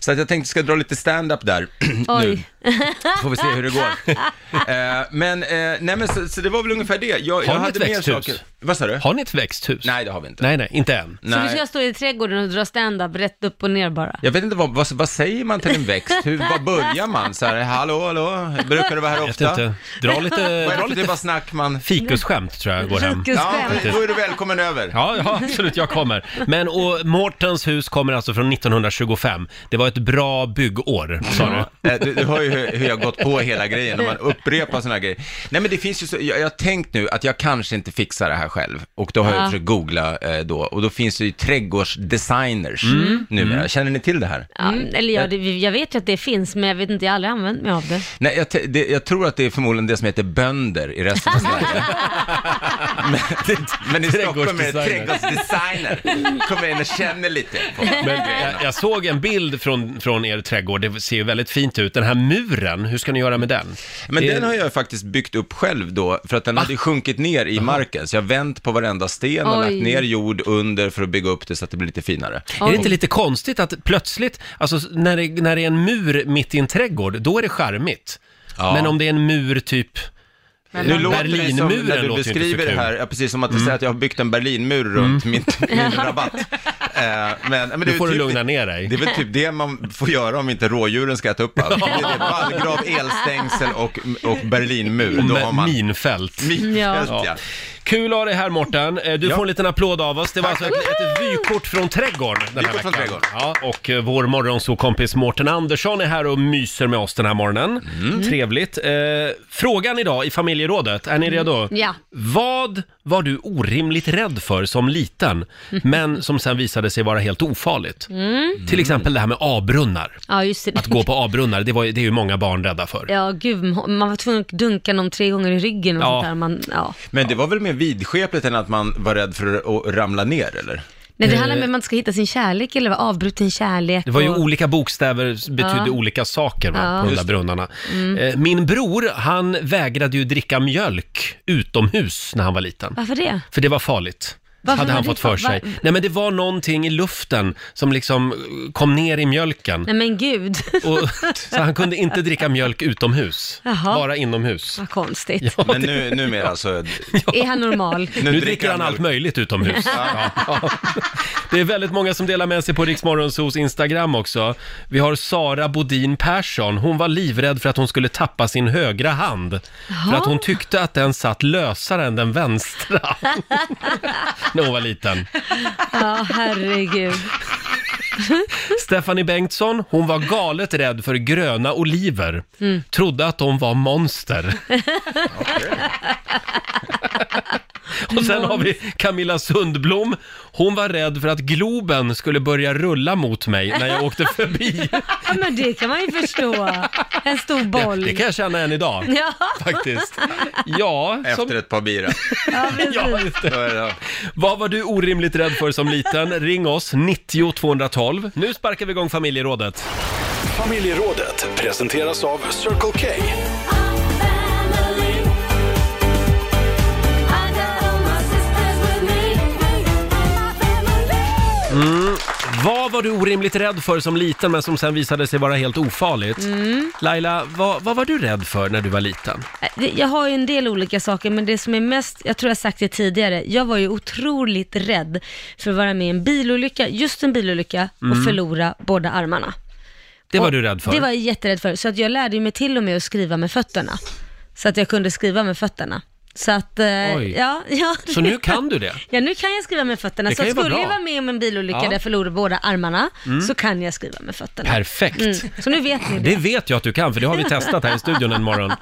I: Så att jag tänkte ska dra lite stand-up där nu.
E: Oj.
I: Får vi se hur det går. eh, men, eh, nej men så, så det var väl ungefär det. Jag, jag
A: ni
I: hade
A: ett
I: mer
A: växthus?
I: saker. Vad sa du?
A: Har ni ett växthus?
I: Nej, det har vi inte.
A: Nej, nej, inte än.
E: Så
I: Nej.
E: du ska stå i trädgården och dra stand-up rätt upp och ner bara?
I: Jag vet inte, vad, vad, vad säger man till en växt? hur, var börjar man? Så här, hallå, hallå, brukar du vara här
A: vet
I: ofta?
A: inte. Dra lite,
I: Vad är
A: dra
I: det för typ av
A: Eh, lite
I: snack man...
A: fikusskämt tror jag går hem.
I: Ja,
E: Fikusskämt.
I: då är du välkommen över.
A: Ja, ja, absolut, jag kommer. Men och Mårtens hus kommer alltså från 1925. Det var ett bra byggår, sa du.
I: Eh, Du, du hör ju hur, hur jag har gått på hela grejen, och man upprepar sådana här grejer. Nej men det finns ju så, jag jag har tänkt nu att jag kanske inte fixar det här själv, och då har jag försökt googla eh, då, och då finns det ju trädgårdsdesigners
A: Mm.
I: numera. Känner ni till det här?
E: Ja, mm, eller ja, det, jag vet ju att det finns, men jag vet inte, jag har aldrig använt mig av det.
I: Nej, jag, te- det, jag tror att det är förmodligen det som heter bönder i resten av Sverige. men, men i Stockholm är det trädgårdsdesigner. Kommer in och känner lite på
A: Men jag, jag såg en bild från, från er trädgård, det ser ju väldigt fint ut. Den här muren, hur ska ni göra med den?
I: Men
A: Det- Ah.
I: den har jag faktiskt byggt upp själv då, för att den hade ju sjunkit ner i marken. Så jag har vänt på varenda sten och
E: Oj.
I: lagt ner jord under för att bygga upp det så att det blir lite finare.
A: Är det inte lite konstigt att plötsligt, alltså när det, när det är en mur mitt i en trädgård, då är det charmigt.
I: Ja.
A: Men om det är en mur typ...
I: Nu låter det som,
A: Berlinmuren
I: när du
A: låter ju inte
I: beskriver
A: så Mm.
I: det här, ja, precis som att du säger att jag har byggt en Berlinmur runt min, min rabatt. Eh, men, men det
A: Nu
I: är
A: får du
I: typ-
A: lugna ner dig.
I: Det är väl typ det man får göra om inte rådjuren ska äta upp allt. Det är typ vallgrav, elstängsel och, och Berlinmur. Då har
A: Med
I: man...
A: minfält.
I: Minfält,
A: Ja.
I: ja.
A: Kul att ha dig här Mårten. Eh, Du
I: Ja.
A: får en liten applåd av oss. Det var alltså ett, ett vykort från trädgården den här
I: Vykort
A: veckan.
I: från trädgården.
A: Ja, och eh, vår morgonsåkompis Mårten Andersson är här och myser med oss den här morgonen.
I: Mm.
A: Trevligt. Eh, frågan idag i familjerådet, är ni redo?
E: Ja.
A: Vad var du orimligt rädd för som liten, men som sen visade sig vara helt ofarligt? Till exempel det här med avbrunnar.
E: Ja, just det.
A: Att gå på avbrunnar, det, var, ju- det är ju många barn rädda för.
E: Ja, gud, man var tvungen att dunka någon tre gånger i ryggen och
A: Ja.
E: sånt där. Man, ja.
I: Men det var väl mer vidskepligt än att man var rädd för att ramla ner, eller?
E: Nej, det handlar om att man ska hitta sin kärlek eller vara avbruten kärlek.
A: Eh. Det var ju
E: och...
A: olika bokstäver betydde
E: Ja.
A: olika saker va, på de där
I: Just det. Mm.
A: brunnarna. Eh, Min bror, han vägrade ju dricka mjölk utomhus när han var liten.
E: Varför det?
A: För det var farligt.
E: Varför
A: hade
E: var
A: han
E: det
A: fått för
E: fa-
A: sig.
E: va-
A: Nej men det var någonting i luften som liksom eh, kom ner i mjölken.
E: Nej men gud,
A: Och, så han kunde inte dricka mjölk utomhus,
E: Jaha.
A: bara inomhus.
E: vad konstigt.
A: Ja,
I: Men
A: det-
I: nu, numera så...
E: Är han normal?
A: nu dricker han allt
I: mjölk.
A: möjligt utomhus. Ja. Ja. Det är väldigt många som delar med sig på Riksmorgonsos Instagram också. Vi har Sara Bodin Persson. Hon var livrädd för att hon skulle tappa sin högra hand. För att hon tyckte att den satt lösare än den vänstra. När hon var liten.
E: Ja, herregud.
A: Stephanie Bengtsson, hon var galet rädd för gröna oliver. Trodde att de var monster. Och sen har vi Camilla Sundblom. Hon var rädd för att Globen skulle börja rulla mot mig när jag åkte förbi.
E: Ja, men det kan man ju förstå. En stor boll.
A: Det kan jag känna än idag.
E: Ja,
A: Faktiskt. Ja,
I: Efter
A: som...
I: ett par bira.
A: ja, just det.
I: Då är det-
A: Vad var du orimligt rädd för som liten? Ring oss, 90 212. Nu sparkar vi igång familjerådet.
D: Familjerådet presenteras av Circle K.
A: Vad var du orimligt rädd för som liten men som sen visade sig vara helt ofarligt?
E: Mm.
A: Laila, vad, vad var du rädd för när du var liten?
E: Äh, Det- jag har ju en del olika saker, men det som är mest, jag tror jag sagt det tidigare, jag var ju otroligt rädd för att vara med i en bilolycka, just en bilolycka, och förlora båda armarna.
A: Det var
E: Och
A: du rädd Mm. för?
E: Det var jag jätterädd för, så att jag lärde ju mig till och med att skriva med fötterna. Så att jag kunde skriva med fötterna. Så att, eh,
A: Oj.
E: ja, ja.
A: Så nu kan du det?
E: Ja, nu kan jag skriva med fötterna.
A: Det
E: Så
A: kan ju vara
E: skulle jag
A: bra.
E: vara med om en bilolycka
A: Ja. Mm.
E: där jag förlorar båda armarna, så kan jag skriva med fötterna.
A: Perfekt!
E: Mm. Så nu vet ni det.
A: Det vet jag att du kan, för det har vi testat här i studion en morgon.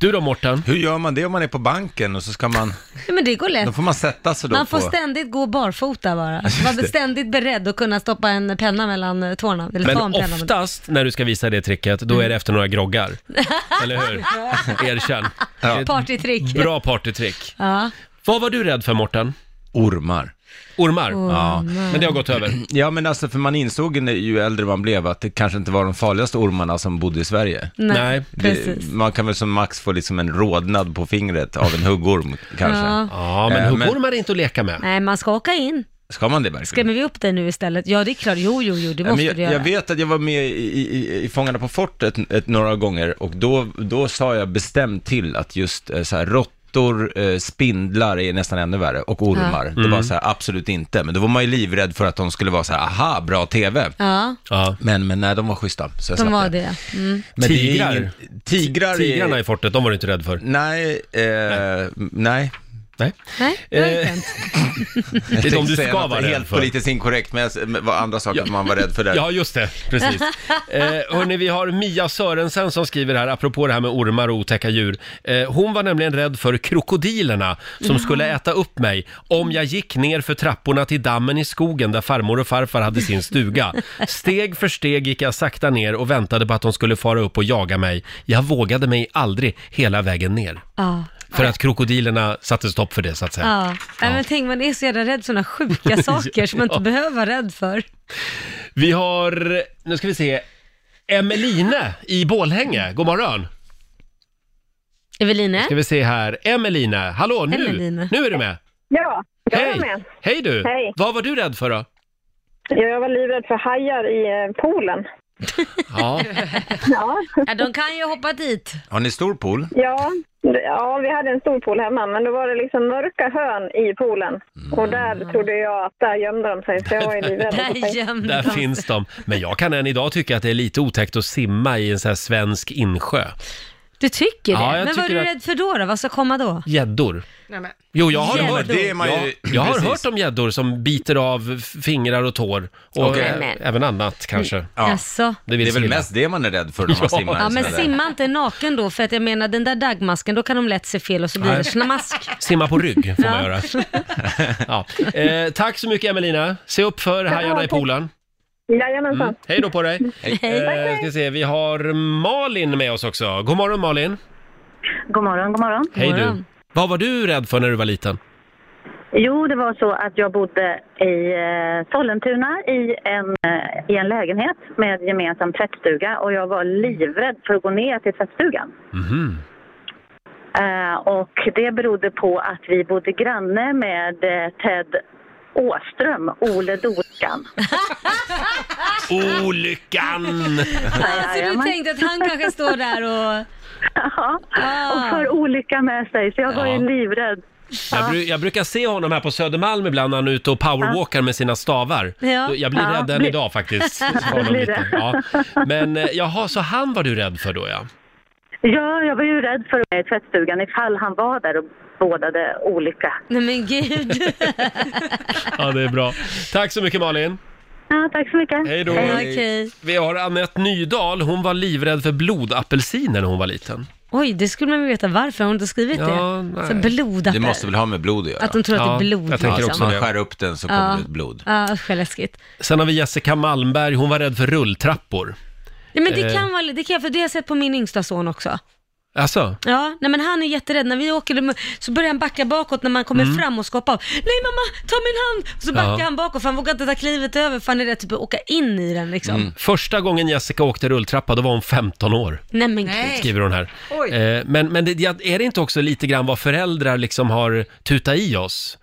A: Du då Morten?
I: Hur gör man det om man är på banken och så ska man...
E: Ja, men det går lätt.
I: Då får man sätta sig då
E: Man får
I: på...
E: ständigt gå barfota bara. Var ständigt beredd att kunna stoppa en penna mellan eh, tårna. Eller ta en
A: Men
E: penna. mellan-
A: oftast när du ska visa det tricket, då är det efter några groggar. Eller hur? Erkänn. Det är ett
E: Partytrick.
A: Bra partytrick.
E: Ja.
A: Vad var du rädd för Morten?
I: Ormar.
A: Ormar?
I: Ja.
A: Men det har gått över.
I: ja, men alltså för man insåg när- ju äldre man blev att det kanske inte var de farligaste ormarna som bodde i Sverige.
E: Nej,
A: Nej,
E: precis.
I: Det, man kan väl som max få liksom en rodnad på fingret av en huggorm kanske.
E: Ja.
A: Ja, men
I: Eh, men-
A: huggormar är inte att leka med.
E: Nej, man ska åka in.
I: Ska man det verkligen?
E: Skrämmer vi upp dig nu istället? Ja, det är klart. Jo, jo, jo, det
I: Ja,
E: måste
I: men jag,
E: du göra.
I: jag vet att jag var med i, i, i- i Fångarna på fortet ett, några gånger och då, då sa jag bestämt till att just eh, så här råttor råttor, eh, spindlar är nästan ännu värre och ormar.
A: Mm.
I: Det var så här, absolut inte. Men då var man ju livrädd för att de skulle vara så här, aha, bra TV.
E: Ja,
A: Ja.
I: Men, men nej, de var schyssta. Så jag
E: de
I: slapp
E: var det. Mm.
I: Men
A: Tigrar?
I: Det är ingen, tigrar
A: Tigrarna
I: är...
A: i fortet, de var du inte rädd för?
I: Nej, eh, nej. nej.
A: Nej. Eh,
E: Nej, det var inte hänt.
I: Jag
A: de
I: tänkte
A: du
I: säga
A: ska
I: något
A: vara rädd
I: Helt
A: för.
I: politiskt inkorrekt, men jag s- men vad andra saker man var rädd för där.
A: Ja, just det. Precis. Eh, hörni, vi har Mia Sörensen som skriver här, apropå det här med ormar och otäcka djur. Eh, hon var nämligen rädd för krokodilerna som skulle äta upp mig om jag gick ner för trapporna till dammen i skogen där farmor och farfar hade sin stuga. Steg för steg gick jag sakta ner och väntade på att de skulle fara upp och jaga mig. Jag vågade mig aldrig hela vägen ner.
E: Ja.
A: För att krokodilerna satte stopp för det, så att säga.
E: Ja. Nej, men tänk man är så jävla rädd för sådana sjuka saker som man inte behöver vara rädd för.
A: Vi har, nu ska vi se, Emeline i Bålhänge. God morgon!
E: Eveline?
A: ska vi se här. Emelina, hallå nu!
E: Emelina.
A: Nu är du med!
G: Ja, jag var
A: Hej!
G: med.
A: Hej du!
G: Hej.
A: Vad var du rädd för då?
G: Jag var livrädd för hajar i eh, poolen.
A: Ja,
G: Ja,
E: Ja, de kan ju hoppa dit.
I: Har ni stor pool?
G: ja, ja, vi hade en stor pool hemma, men då var det liksom mörka hörn i poolen. Och där trodde jag att där gömde de sig, så jag var ju livrädd.
E: Där gömde
A: där
E: de sig.
A: finns de. Men jag kan än idag tycka att det är lite otäckt att simma i en sån här svensk insjö.
E: Du tycker det?
A: Ja, jag
E: men vad är
A: tycker
E: du
A: att-
E: rädd för då, då? Vad ska komma då?
A: Gäddor.
B: Nej, men.
A: Jo, jag har
E: Gäddor.
A: hört.
I: Det är man ju-
A: jag, jag har
I: precis.
A: hört om gäddor som biter av f- fingrar och tår. Och
I: Okej.
A: ä- även annat kanske.
I: Ja.
E: Jaså?
A: Det, vill
I: Det är väl
A: säga.
I: mest det man är rädd för när man simmar. i
E: Ja
I: en
E: men
I: sån där.
E: simma inte naken då, för att jag menar den där dagmasken, då kan de lätt se fel och så blir
A: Nej.
E: det snamask.
A: Simma på rygg får man
E: Ja.
A: göra. Ja. Eh, tack så mycket Emelina. Se upp för hajarna i poolen.
G: Jajamensan.
A: Mm. Hej då på dig. Eh, ska se, vi har Malin med oss också. God morgon Malin.
J: God morgon, god morgon.
A: Hej du.
E: morgon.
A: Vad var du rädd för när du var liten?
J: Jo, det var så att jag bodde i eh, Sollentuna i en, eh, i en lägenhet med gemensam tvättstuga och jag var livrädd för att gå ner till tvättstugan. Eh, och det berodde på att vi bodde granne med eh, Ted Åström, Ole Dorskan.
A: Olyckan!
E: Så du tänkte att han kanske står där och...
J: Ja,
E: Ah.
J: och för olycka med sig, så jag var
A: Ja.
J: ju livrädd.
A: Jag, bru- jag brukar se honom här på Södermalm ibland när han är ute och powerwalkar med sina stavar.
E: Ja.
A: Jag blir
J: Ja,
A: rädd än
J: bli-
A: idag faktiskt. Honom
J: blir
A: lite.
J: det.
A: Ja. Men eh, jaha, så han var du rädd för då ja.
J: Ja, jag var ju rädd för att gå ner i tvättstugan ifall han var där och bådade olycka.
E: Nej men gud.
A: Ja, det är bra. Tack så mycket Malin.
J: Ja, tack så mycket.
A: Hej då.
E: Okej.
A: Vi har Annette Nydahl. Hon var livrädd för blodapelsiner när hon var liten.
E: Oj, det skulle man ju veta varför. Har hon inte skrivit
A: Ja,
E: det?
A: nej.
E: Så blodappel.
I: Det måste väl ha med blod att göra?
E: Att de tror att det
A: Ja,
E: är blod.
A: jag tänker
E: liksom.
A: också
I: man
A: det.
I: skär upp den så kommer det ut blod.
E: Ja, usch vad läskigt.
A: Sen har vi Jessica Malmberg. Hon var rädd för rulltrappor.
E: Nej men det
A: Eh.
E: kan vara, det kan jag, för det har jag sett på min yngsta son också.
A: Alltså,
E: Ja, nej men han är jätterädd. När vi åker så börjar han backa bakåt när man kommer fram och ska hoppa av. Nej mamma, ta min hand! Och så backar
A: Mm. Ja.
E: han bakåt för han vågar inte ta klivet över för han är rädd typ att åka in i den liksom.
A: Mm. första gången Jessica åkte rulltrappa, då var hon 15 år.
E: Nej men
B: Nej.
E: gud.
A: skriver hon här.
B: Oj.
A: Eh, Men, men det, jag- är det inte också lite grann vad föräldrar liksom har tutat i oss?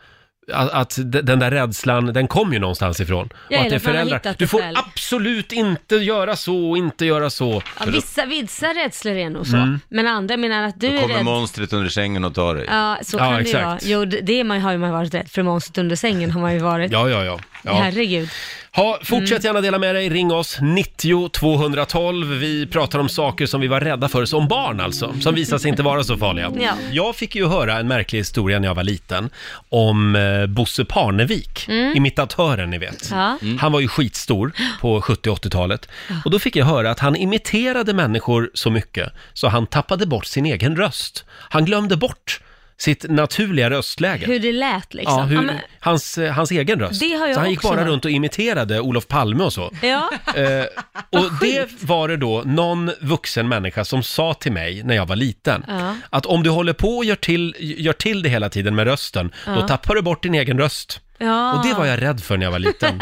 A: Att, att d- den där rädslan, den kom ju någonstans ifrån.
E: Ja,
A: och att
E: eller
A: det är
E: att man har
A: föräldrar.
E: hittat
A: Du
E: det
A: får
E: själv."
A: absolut inte göra så och inte göra så.
E: Ja, vissa, vissa rädslor är nog så.
A: Mm.
E: Men andra menar att du
I: Då
E: är
I: kommer
E: rädd.
I: monstret under sängen och tar dig.
E: Ja, så
A: Ja,
E: kan det ju
A: exakt.
E: vara. Jo, det- det man har ju man varit rädd för. Monstret under sängen har man ju varit.
A: Ja, ja, ja. ja.
E: Herregud.
A: Ha, fortsätt
E: Mm.
A: gärna dela med dig. Ring oss, 90 212. Vi pratar om saker som vi var rädda för som barn alltså, som visar sig inte vara så farliga.
E: Ja.
A: Jag fick ju höra en märklig historia när jag var liten om eh, Bosse Parnevik, imitatören ni vet.
E: Mm. Ja.
A: Han var ju skitstor på 70 och 80-talet. Och då fick jag höra att han imiterade människor så mycket så han tappade bort sin egen röst. Han glömde bort sitt naturliga röstläge.
E: Hur det lät liksom.
A: Ja, hur,
E: Ja, men,
A: hans, eh, hans egen röst.
E: Det har jag
A: så han gick
E: också
A: bara
E: hört.
A: runt och imiterade Olof Palme och så.
E: ja.
A: Eh, och det var det då någon vuxen människa som sa till mig när jag var liten
E: Ja.
A: att om du håller på och gör till, gör till det hela tiden med rösten, då tappar du bort din egen röst.
E: Ja.
A: Och det var jag rädd för när jag var liten.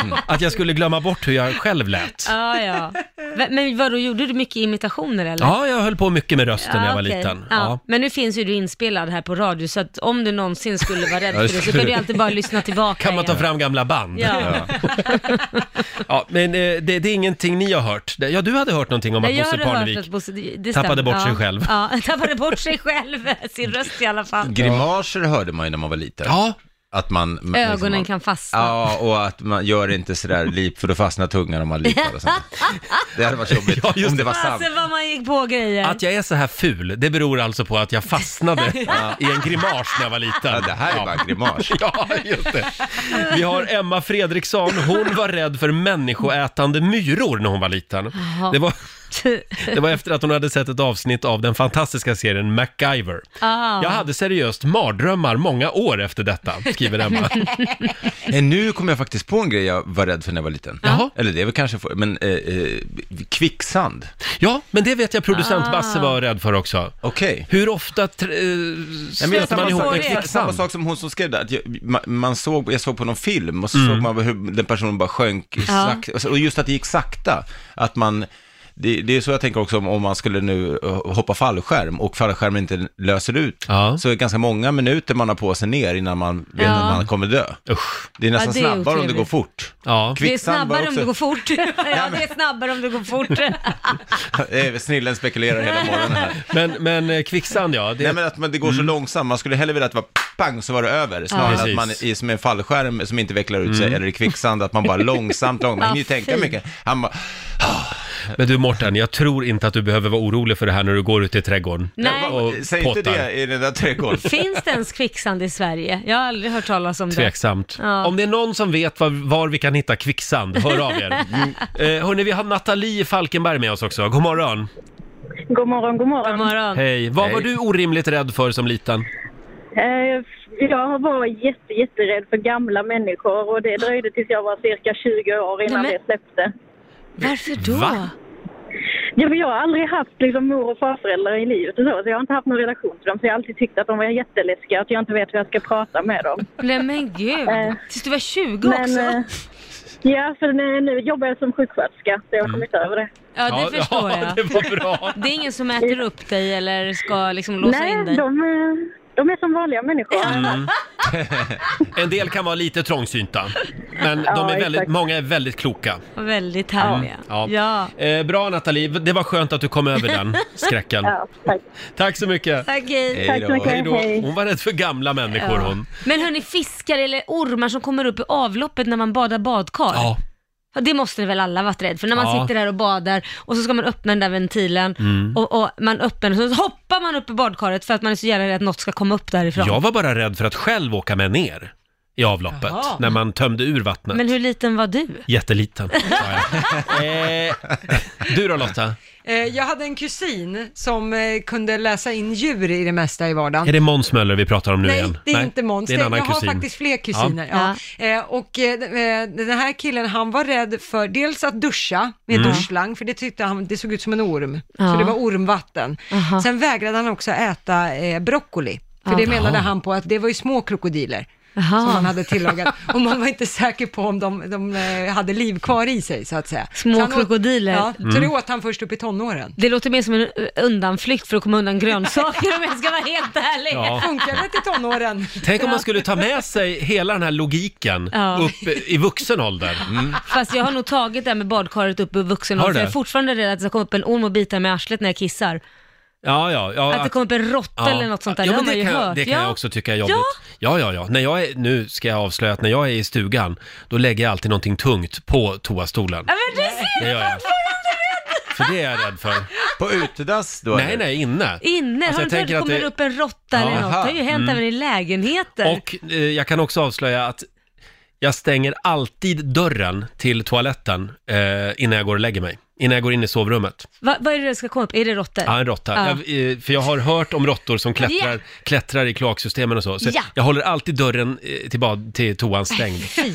A: Mm. Att jag skulle glömma bort hur jag själv lät.
E: Ja, ja. Va- Men vadå, gjorde du mycket imitationer eller?
A: Ja, jag höll på mycket med rösten när jag var
E: okej.
A: liten.
E: Ja.
A: Ja.
E: Men nu finns ju du inspelad här på radio, så att om du någonsin skulle vara rädd
A: Ja, det
E: för det så
A: skulle-
E: kan du ju alltid bara lyssna tillbaka.
A: Kan man ta
E: igen.
A: fram gamla band?
E: Ja.
A: Ja, men eh, det, det är ingenting ni har hört. Det- Ja, du hade hört någonting om att
E: Nej, jag
A: Bosse
E: hade hört
A: Parnevik...
E: att Bosse- det- det
A: tappade
E: stämmer.
A: bort
E: ja.
A: sig själv.
E: Ja, tappade bort sig själv, sin röst i alla fall.
I: Grimaser hörde man ju när man var liten. Ja. Att man... liksom
E: Ögonen
I: man-
E: kan fastna.
I: Ja, och att man gör inte sådär lip för då fastnar tungan om man lipar och sånt. Det hade varit jobbigt om det var sant.
E: Fasen vad man gick på grejer.
A: Att jag är så här ful, det beror alltså på att jag fastnade i en grimas när jag var liten. Ja, det
I: här är bara en grimas.
A: Ja, just det. Vi har Emma Fredriksson, hon var rädd för människoätande myror när hon var liten.
E: Jaha.
A: Det var, det var efter att hon hade sett ett avsnitt av den fantastiska serien MacGyver.
E: Ah.
A: Jag hade seriöst mardrömmar många år efter detta, skriver Emma.
I: Eh, Nu kom jag faktiskt på en grej jag var rädd för när jag var liten.
A: Jaha.
I: Eller det är väl kanske för, men eh, eh, kvicksand.
A: Ja, men det vet jag producent Basse var rädd för också.
I: Okej.
A: Hur ofta tr- eh,
I: Nej, men jag,
A: stöter man
I: samma,
A: ihop en
I: sak, jag- samma
A: kvicksand?
I: sak som hon som skrev där, att jag, man, man såg, jag såg på någon film och så
A: Mm.
I: såg man hur den personen bara sjönk i
E: Ja.
I: sakta, och just att det gick sakta, att man det, det är så jag tänker också om, om man skulle nu eh, hoppa fallskärm och fallskärmen inte löser ut,
A: Ja.
I: så är det ganska många minuter man har på sig ner innan man vet
E: Ja.
I: att man kommer dö.
A: Usch.
I: Det är nästan
E: Ja, det är
I: snabbare om det
E: otrevligt.
I: går fort.
A: Ja.
E: Det är
I: Kvicksand var
E: snabbare om
I: också-
E: det går fort. ja, det är snabbare om det går fort.
I: Eh, Snillen spekulerar hela morgonen här.
A: Men, men eh, kvicksand ja, det, Mm.
I: Nej men att man, det går så långsamt, man skulle hellre vilja att det var pang så var det över, snarare än att man
A: Precis. Mm.
I: är som en fallskärm som inte vecklar ut sig, eller i kvicksand, att man bara långsamt, långsamt, man hinner ju tänka mycket. Han bara,
A: Men du Morten, jag tror inte att du behöver vara orolig för det här när du går ut i trädgården.
E: Nej.
A: Och
I: "Eh, säg inte
A: pottar.
I: det i den där trädgården.
E: Finns det ens kvicksand i Sverige? Jag har aldrig hört talas om det.
A: Tveksamt.
E: Ja.
A: Om det är någon som vet var, var vi kan hitta kvicksand, hör av er. Eh, hörni, vi har Nathalie Falkenberg med oss också. God morgon.
J: God morgon, god morgon.
E: God morgon.
A: Hej. Vad
I: Hej.
A: var du orimligt rädd för som liten?
J: Eh, Jag var jätte, jätterädd för gamla människor och det dröjde tills jag var cirka 20 år innan
E: Nej, men-
J: det släppte.
E: Varför då?
A: Va?
J: Ja, men jag har aldrig haft liksom, mor och farföräldrar i livet och så, så jag har inte haft någon relation till dem. Så jag har alltid tyckt att de var jätteläskiga, att jag inte vet hur jag ska prata med dem.
E: Nej men gud.
J: Eh,
E: Tills du var 20
J: Men,
E: också.
J: eh, ja, för nu, nu jobbar jag som sjuksköterska, så jag
E: Mm.
J: har kommit över det.
E: ja, det förstår
A: ja,
E: jag.
A: det var bra.
E: Det är ingen som äter upp dig eller ska liksom låsa in
J: Nej,
E: dig?
J: de, eh, de är som vanliga människor.
A: En del kan vara lite trångsynta, men
J: Ja,
A: de är väldigt,
J: exakt.
A: många är väldigt kloka.
E: Väldigt härliga.
A: Ja.
E: Ja.
A: Eh, bra Nathalie, det var skönt att du kom över den skräcken.
J: Ja, tack.
A: Tack så mycket.
E: Tack, hej.
J: tack så mycket.
A: Hej då.
J: Hej.
A: Hon var rädd för gamla människor hon.
E: Men hörni, fiskar eller ormar som kommer upp i avloppet när man badar badkar?
A: Ja.
E: Ja, Det måste väl alla varit rädd för när man
A: Ja.
E: sitter där och badar och så ska man öppna den där ventilen och, och man öppnar den och så hoppar man upp i badkaret för att man är så jävla rädd att något ska komma upp därifrån.
A: Jag var bara rädd för att själv åka med ner i avloppet
B: Jaha.
A: när man tömde ur vattnet.
E: Men hur liten var du?
A: Jätteliten, sa jag. eh, du då Lotta?
B: Eh, Jag hade en kusin som eh, kunde läsa in djur i det mesta i vardagen.
A: Är det Måns Möller vi pratar om nu igen?
B: Nej, det är inte Måns.
A: Det är en annan
B: jag
A: kusin.
B: har faktiskt fler kusiner. Ja. Eh, och eh, den här killen, han var rädd för dels att duscha med
A: Mm.
B: duschslang, för det tyckte han, det såg ut som en orm.
E: Ja.
B: Så det var ormvatten.
E: Aha.
B: Sen vägrade han också äta eh, broccoli. För det menade han på att det var ju små krokodiler
E: Aha.
B: som han hade tillagat. Och man var inte säker på om de, de eh, hade liv kvar i sig så att säga.
E: Små
B: så han åt-
E: krokodiler.
B: Ja, Så det
A: Mm.
B: åt han först upp i tonåren.
E: Det låter mer som en eh, undanflykt för att komma undan grönsaker om jag ska vara helt ärlig.
A: Ja.
B: Funkar det till tonåren?
A: Tänk om man skulle ta med sig hela den här logiken
E: Ja.
A: upp i vuxen ålder.
E: Fast jag har nog tagit det här med badkaret upp i vuxen
A: Har du
E: ålder. Jag
A: det?
E: är fortfarande rädd att det ska komma upp en orm och bita mig i arslet när jag kissar.
A: Ja, ja, ja.
E: Att det kommer upp en råtta eller något sånt där,
A: Ja,
E: det
A: men
E: har man
A: det
E: ju
A: kan, jag-
E: hört.
A: Det kan
E: ja.
A: jag också tycka är jobbigt. Ja, ja, ja. När jag är, nu ska jag avslöja att när jag är i stugan, då lägger jag alltid någonting tungt på toastolen.
E: Ja, men du ser!
A: Det gör jag. För det är jag rädd för.
I: På utedass då?
A: Nej,
I: eller?
A: nej, inne.
E: Inne,
A: Alltså,
E: har
A: jag
E: inte hört
A: tänker
E: det
A: att
E: kommer
A: det-
E: upp en råtta eller
A: Ja.
E: något? Det har ju hänt även i lägenheter.
A: Och eh, jag kan också avslöja att jag stänger alltid dörren till toaletten eh, innan jag går och lägger mig. Innan jag går in i sovrummet.
E: Va, vad är det som ska komma upp? Är det råttor?
A: Ja, en råtta.
E: Ja.
A: Jag, eh, för jag har hört om råttor som klättrar,
E: Ja.
A: klättrar i kloaksystemen och så. så
E: Ja. Äh,
A: Jag håller alltid dörren eh, till, bad, till toan stängd.
E: Fy.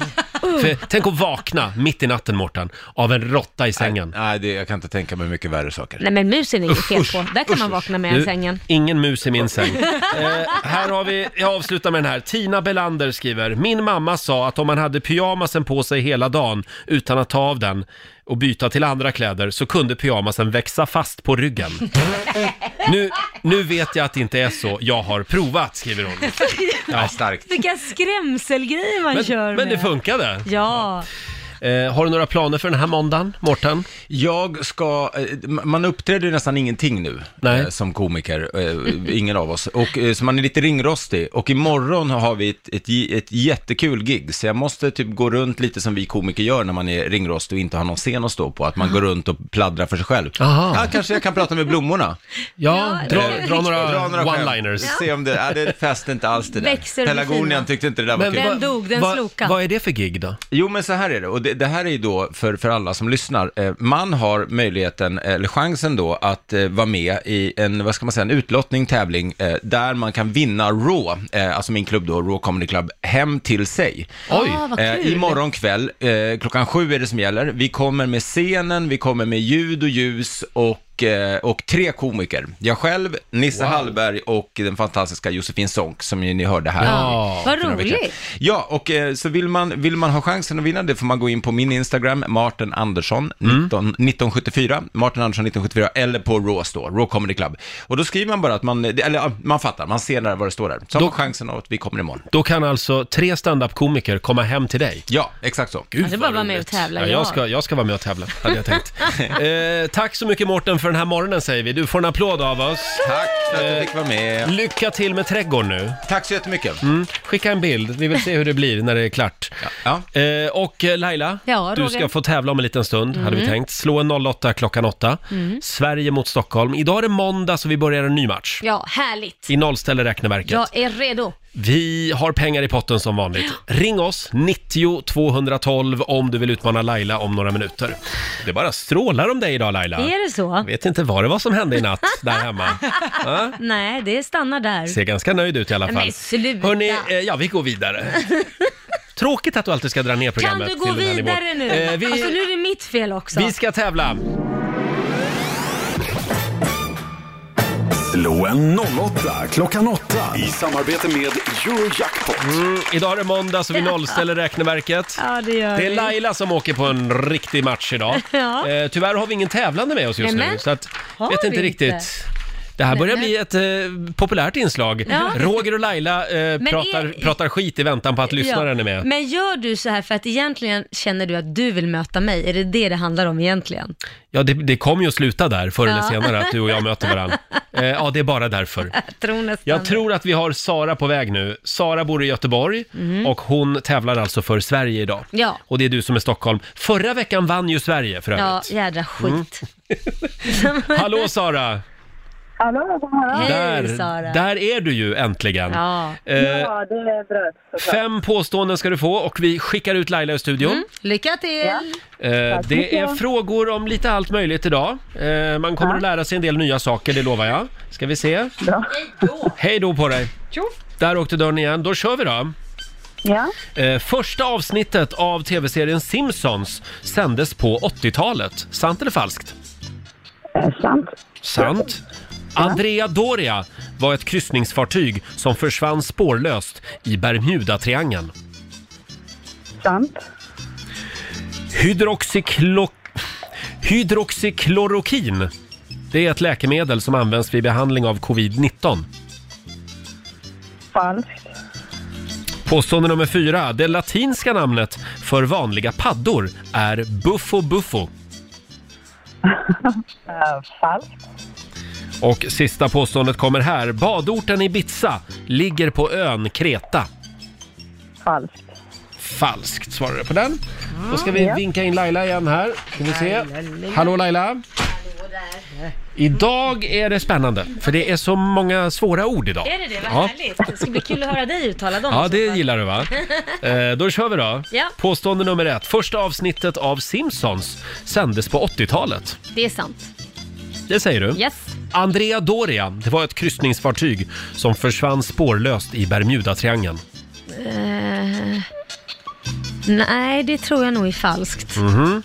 A: För, tänk att vakna mitt i natten, Mårten, av en råtta i sängen.
I: Nej, nej det, jag kan inte tänka mig mycket värre saker.
E: Nej men musen är ju fel
A: usch,
E: på. Där kan man vakna med
A: Du,
E: i sängen.
A: Ingen mus i min säng. Eh, här har vi, jag avslutar med den här. Tina Belander skriver, min mamma sa att om man hade pyjamasen på sig hela dagen utan att ta av den och byta till andra kläder så kunde pyjamasen växa fast på ryggen. Nu, nu vet jag att det inte är så, jag har provat, skriver hon. Ja, starkt.
E: Vilka skrämselgrejer man kör
A: Men, men det
E: med.
A: funkade.
E: Ja.
A: Eh, har du några planer för den här måndagen, Mårten?
I: Jag ska, eh, ma- man uppträder ju nästan ingenting nu eh, som komiker, eh, ingen av oss. Och, eh, så man är lite ringrostig. Och imorgon har vi ett, ett, j- ett jättekul gig, så jag måste typ gå runt lite som vi komiker gör när man är ringrostig och inte har någon scen att stå på, att man går runt och pladdrar för sig själv.
A: Aha.
I: Ja, kanske jag kan prata med blommorna.
A: Ja,
I: Eh,
A: dra, dra några, one-liners.
I: skämt. Se om det, ja, det fäste inte alls det där.
E: Växer och blir
I: Pelargonian
E: fina.
I: tyckte inte det där var
E: Men
I: kul.
E: Den dog, den
A: vad-
E: slokade.
A: Vad är det för gig då?
I: Jo, men så här är det. Och det, det här är ju då för, för alla som lyssnar. Eh, man har möjligheten, eh, eller chansen då, att eh, vara med i en, vad ska man säga, en utlottning, tävling, eh, där man kan vinna Raw, eh, alltså min klubb då, Raw Comedy Club, hem till sig.
C: Oj. Ah, vad kul.
I: Eh, imorgon kväll, eh, klockan sju är det som gäller. Vi kommer med scenen, vi kommer med ljud och ljus och eh, och tre komiker. Jag själv, Nisse Hallberg och den fantastiska Josefin Sonck som ju ni hörde här.
C: Ja.
I: för
C: Vad
I: några veckor sedan.
C: roligt.
I: Ja, och eh, så vill man, vill man ha chansen att vinna det får man gå in på min Instagram, Martin Andersson
D: Mm.
I: 19, 1974, Martin Andersson 1974, eller på Raws då, Raw Comedy Club. Och då skriver man bara att man, eller ja, man fattar, man ser där vad det står där. Så har man chansen att vi kommer imorgon.
A: Då kan alltså tre standup-komiker komma hem till dig?
I: Ja, exakt så.
A: Gud,
E: Alltså bara vara med och tävla.
A: Ja, jag, ska, jag ska vara med och tävla, hade jag tänkt. eh, tack så mycket Mårten för den här morgonen säger vi. Du får en applåd av oss.
I: Tack för att du fick vara med.
A: Lycka till med trädgården nu.
I: Tack så jättemycket.
A: Mm. Skicka en bild, vi vill se hur det blir när det är klart. Eh, och eh, Laila,
E: Ja,
A: du
E: Roger.
A: ska få tävla om en liten stund, hade vi
E: Mm.
A: tänkt. Slå en 08 klockan 8.
E: Mm.
A: Sverige mot Stockholm. Idag är det måndag så vi börjar en ny match.
E: Ja, härligt.
A: I nollställer räkneverket.
E: Jag är redo.
A: Vi har pengar i potten som vanligt. Ring oss, 90 212 om du vill utmana Laila om några minuter. Det bara strålar om dig idag Laila.
E: Är det så?
A: Jag vet inte vad det var som hände i natt där hemma. Ja,
E: Nej, det stannar där.
A: ser ganska nöjd ut i alla fall.
E: Men sluta.
A: Hörni, ja vi går vidare. Tråkigt att du alltid ska dra ner
E: kan
A: programmet
E: du gå
A: till den här nivån.
E: vidare nu?
A: Eh, vi,
E: Alltså nu är det mitt fel också.
A: vi ska tävla.
D: Slå en 08 klockan 8 i samarbete med Eurojackpot.
A: Mm, idag är det måndag så vi nollställer räkneverket.
E: Ja, det gör
A: Det är
E: vi.
A: Laila som åker på en riktig match idag.
E: Ja.
A: Eh, tyvärr har vi ingen tävlande med oss just nu,
E: Nämen.
A: så att,
E: Har
A: vet
E: vi
A: inte
E: inte?
A: riktigt. Det här börjar
E: Nämen.
A: bli ett eh, populärt inslag.
E: Ja.
A: Roger och Laila eh,
E: Men
A: pratar,
E: är-
A: pratar skit i väntan på att lyssnaren
E: Ja,
A: är med.
E: Men gör du så här för att egentligen känner du att du vill möta mig? Är det det det handlar om egentligen?
A: Ja, det, det kommer ju att sluta där förr eller
E: Ja.
A: senare, att du och jag möter varandra. Eh, ja, det är bara därför.
E: Jag tror nästan
A: Jag tror att vi har Sara på väg nu. Sara bor i Göteborg och hon tävlar alltså för Sverige idag.
E: Mhm. Ja.
A: Och det är du som är Stockholm. Förra veckan vann ju Sverige för
E: Ja,
A: övrigt.
E: jädra skit.
A: Hallå Sara!
K: Hallå, god morgon.
A: där, där är du ju äntligen.
E: Ja.
A: Eh,
K: ja, det är bröd såklart.
A: Fem påståenden ska du få och vi skickar ut Laila i studion.
E: Lycka till!
A: Eh,
E: Tack så
A: det är
E: mycket.
A: frågor om lite allt möjligt idag. Eh, man kommer att lära sig en del nya saker, det lovar jag. Ska vi se? Hej då på dig! Där åkte dörren igen. Då kör vi då!
K: Ja.
A: Eh, första avsnittet av tv-serien Simpsons sändes på 80-talet. Sant eller falskt?
K: Eh, sant.
A: Sant. Andrea Doria var ett kryssningsfartyg som försvann spårlöst i Bermudatriangeln.
K: Sant.
A: Hydroxyklo... Hydroxyklorokin. Det är ett läkemedel som används vid behandling av covid-19.
K: Falskt.
A: Påstående nummer fyra. Det latinska namnet för vanliga paddor är buffo buffo.
K: Eh, falskt.
A: Och sista påståendet kommer här. Badorten Ibiza ligger på ön Kreta.
K: Falskt.
A: Falskt svarade jag på den. Då ska vi
K: Ja.
A: vinka in Laila igen här. Ska vi se. Hallå Laila. Idag är det spännande, för det är så många svåra ord idag.
E: Är det det? Vad
A: Ja.
E: härligt. Det ska bli kul att höra dig uttala dem.
A: Ja, det gillar du va? Eh, då kör vi då.
E: Ja.
A: Påstående nummer ett. Första avsnittet av Simpsons sändes på 80-talet.
E: Det är sant.
A: Det säger du?
E: Yes.
A: Andrea Doria, det var ett kryssningsfartyg som försvann spårlöst i Bermudatriangeln.
E: Eh, Nej, det tror jag nog är falskt.
A: Mhm.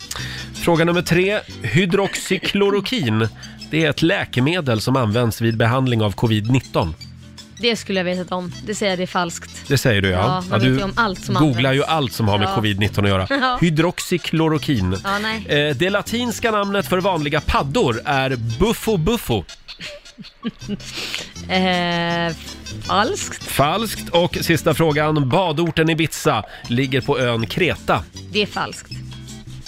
A: Fråga nummer tre. Hydroxyklorokin. Det är ett läkemedel som används vid behandling av covid-19.
E: Det skulle jag vetat om. Det säger jag, det är falskt.
A: Det säger du ja.
E: Ja, man vet
A: du
E: ju om allt som
A: googlar
E: används.
A: ju allt som har med
E: Ja.
A: covid-19 att göra.
E: Ja.
A: Hydroxyklorokin.
E: Ja, nej.
A: Eh, Det latinska namnet för vanliga paddor är buffo buffo.
E: Eh, falskt?
A: Falskt. Och sista frågan. Badorten Ibiza ligger på ön Kreta.
E: Det är falskt.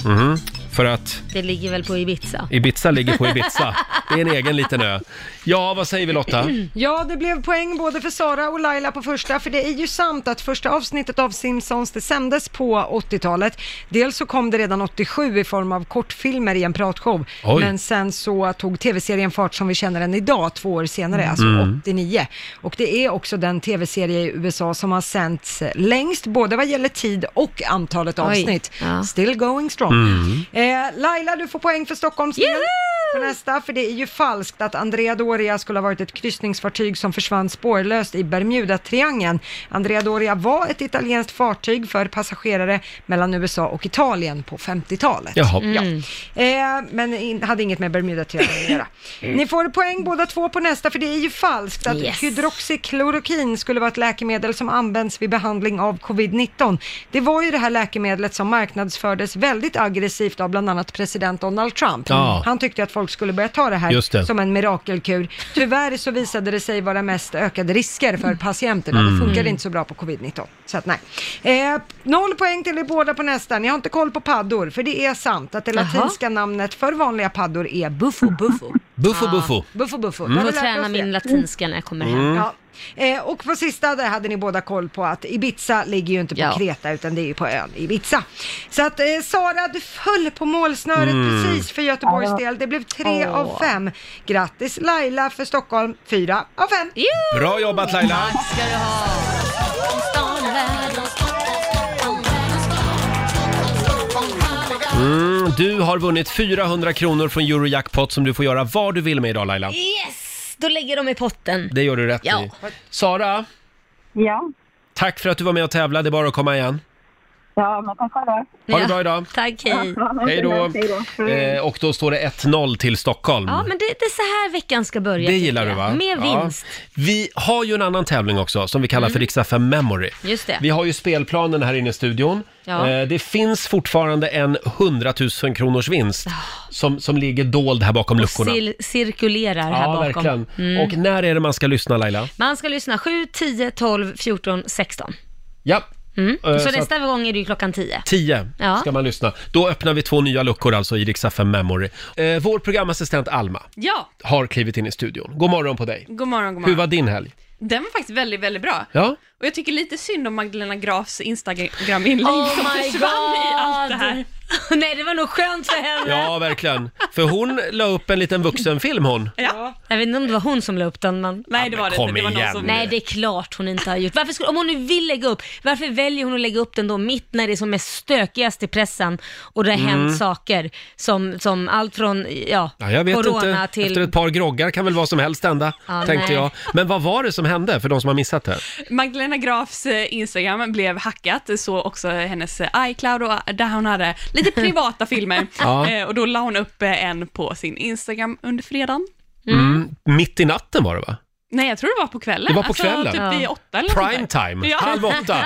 A: Mhm. För att
E: Det ligger väl på Ibiza.
A: Ibiza ligger på Ibiza. Det är en egen liten ö. Ja, vad säger vi Lotta?
B: Ja, det blev poäng både för Sara och Laila på första, för det är ju sant att första avsnittet av Simpsons, det sändes på 80-talet. Dels så kom det redan 87 i form av kortfilmer i en pratshow,
C: Oj.
B: men sen så tog tv-serien fart som vi känner den idag, två år senare, alltså
C: Mm.
B: 89. Och det är också den tv-serie i USA som har sänts längst, både vad gäller tid och antalet
E: Oj.
B: avsnitt. Still going strong.
C: Mm.
B: Eh, Laila, du får poäng för Stockholmsdelen på nästa, för det är ju falskt att Andrea Doria skulle ha varit ett kryssningsfartyg som försvann spårlöst i Bermuda-triangeln. Andrea Doria var ett italienskt fartyg för passagerare mellan USA och Italien på 50-talet.
C: Jaha.
E: Mm.
B: Ja. Eh, men in, hade inget med Bermuda-triangeln att göra. Ni får poäng båda två på nästa, för det är ju falskt att
C: Mm. Yes.
B: hydroxyklorokin skulle vara ett läkemedel som används vid behandling av covid-19. Det var ju det här läkemedlet som marknadsfördes väldigt aggressivt av bland annat president Donald Trump.
C: Ja.
B: Han tyckte att folk skulle börja ta det här
C: Just det.
B: som en mirakelkur. Tyvärr så visade det sig vara mest ökade risker för patienterna.
C: Mm.
B: Det funkade
C: Mm.
B: inte så bra på covid-19. Så att nej. Eh, noll poäng till er båda på nästa. Ni har inte koll på paddor, för det är sant att det
E: Jaha.
B: latinska namnet för vanliga paddor är buffo buffo.
A: Buffo,
B: Ja.
A: buffo.
B: Buffo buffo.
A: Mm.
B: Där har
E: Får
B: vi lärt
E: träna
B: oss det.
E: min latinska när jag kommer hem.
A: Mm.
B: Ja. Eh, och på sista där hade ni båda koll på att Ibiza ligger ju inte på
E: Ja.
B: Kreta utan det är ju på ön Ibiza. Så att eh, Sara, du föll på målsnöret
C: Mm.
B: precis för Göteborgs del. Det blev tre
C: Åh.
B: av fem. Grattis Laila för Stockholm, fyra av fem.
A: Bra jobbat Laila! Mm, du har vunnit 400 kronor från Eurojackpot som du får göra vad du vill med idag Laila.
E: Yes! Då lägger de i potten.
A: Det gör du rätt
E: Ja.
A: i. Sara,
K: Ja,
A: tack för att du var med och tävlade. Det är bara att komma igen.
K: ja men tack själva.
A: Ha det bra idag.
E: Tack, hej.
A: Hej då. Eh, och då står det 1-0 till Stockholm.
E: Ja, men det, det är så här veckan ska börja.
A: Det
E: tycker
A: gillar du
E: jag.
A: va?
E: Med
A: Ja.
E: vinst. Mm.
A: Vi har ju en annan tävling också som vi kallar för Riksa 5 Memory.
E: Just det.
A: Vi har ju spelplanen här inne i studion.
E: Ja.
A: Eh, Det finns fortfarande en 100 000 kronors
E: Ah.
A: vinst som, som ligger dold här bakom luckorna.
E: Cir cirkulerar här
A: ja,
E: bakom.
A: verkligen.
E: Mm.
A: Och när är det man ska lyssna Laila?
E: Man ska lyssna 7, 10, 12, 14, 16.
A: Ja.
E: Mm.
A: Eh,
E: så
A: så
E: nästa gång är det ju klockan 10.
A: 10
E: Ja.
A: ska man lyssna. Då öppnar vi två nya luckor alltså i Riksa 5 Memory. Eh, vår programassistent Alma
L: Ja,
A: har klivit in i studion. God morgon på dig.
L: god morgon, god morgon.
A: Hur var din helg?
L: Den var faktiskt väldigt, väldigt bra.
A: Ja?
L: Och jag tycker lite synd om Magdalena Grafs Instagram-inlägg
E: Oh
L: som
E: my
L: försvann i allt det här.
E: Nej, det var nog skönt för henne.
A: Ja, verkligen. För hon la upp en liten vuxenfilm hon.
L: Ja.
E: Jag vet inte om det var hon som la upp den, men... Nej,
A: det var det kom inte. Det var någon igen. som-
E: Nej, det är klart hon inte har gjort. Varför skulle, om hon nu vill lägga upp, varför väljer hon att lägga upp den då mitt när det är som mest stökigast i pressen och det har hänt
A: Mm.
E: saker som, som allt från, ja,
A: Ja, jag vet
E: corona
A: inte.
E: till...
A: Efter ett par groggar kan väl vad som helst hända,
L: Ja,
A: tänkte
L: nej.
A: jag. Men vad var det som hände för de som har missat det?
L: Magdalena Grafs eh, Instagram blev hackat, så också hennes eh, iCloud, och där hon hade lite privata filmer.
A: Ja.
L: Eh, Och då la hon upp eh, en på sin Instagram under fredagen.
A: Mm. Mitt i natten var det va?
L: Nej, jag tror det var på kvällen.
A: Det var på
L: alltså,
A: kvällen.
L: Typ vid åtta eller
A: Prime
L: något där.
A: time. Halv åtta.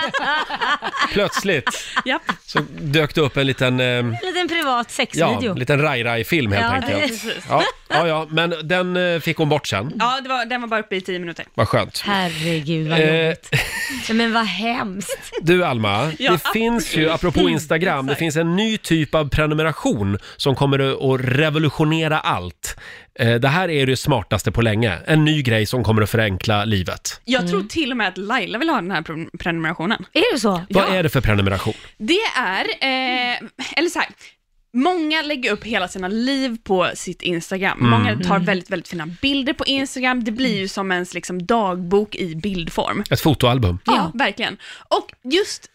A: Plötsligt
L: Japp.
A: så dök det upp en liten, eh,
E: En liten privat
A: ja,
E: sexvideo.
A: en liten raj-raj-film helt
L: Ja,
A: enkelt.
L: precis.
A: Ja, ja, ja, men den eh, fick hon bort sen.
L: Ja, det var, den var bara uppe i tio minuter.
A: Vad skönt.
E: Herregud vad
A: Eh,
E: jobbigt. Men vad hemskt.
A: Du Alma,
E: Ja,
A: det finns ju, apropå Instagram, det finns en ny typ av prenumeration som kommer att- att revolutionera allt. Eh, Det här är det smartaste på länge. En ny grej som kommer att förenkla livet.
L: Jag tror
C: Mm.
L: till och med att Laila vill ha den här pre- prenumerationen.
E: Är det så?
A: Vad är det för prenumeration?
L: Det är, eh, eller så här, många lägger upp hela sina liv på sitt Instagram.
C: Mm.
L: Många tar väldigt, väldigt fina bilder på Instagram. Det blir ju som ens liksom, dagbok i bildform.
A: Ett fotoalbum?
L: Ja, verkligen. Och just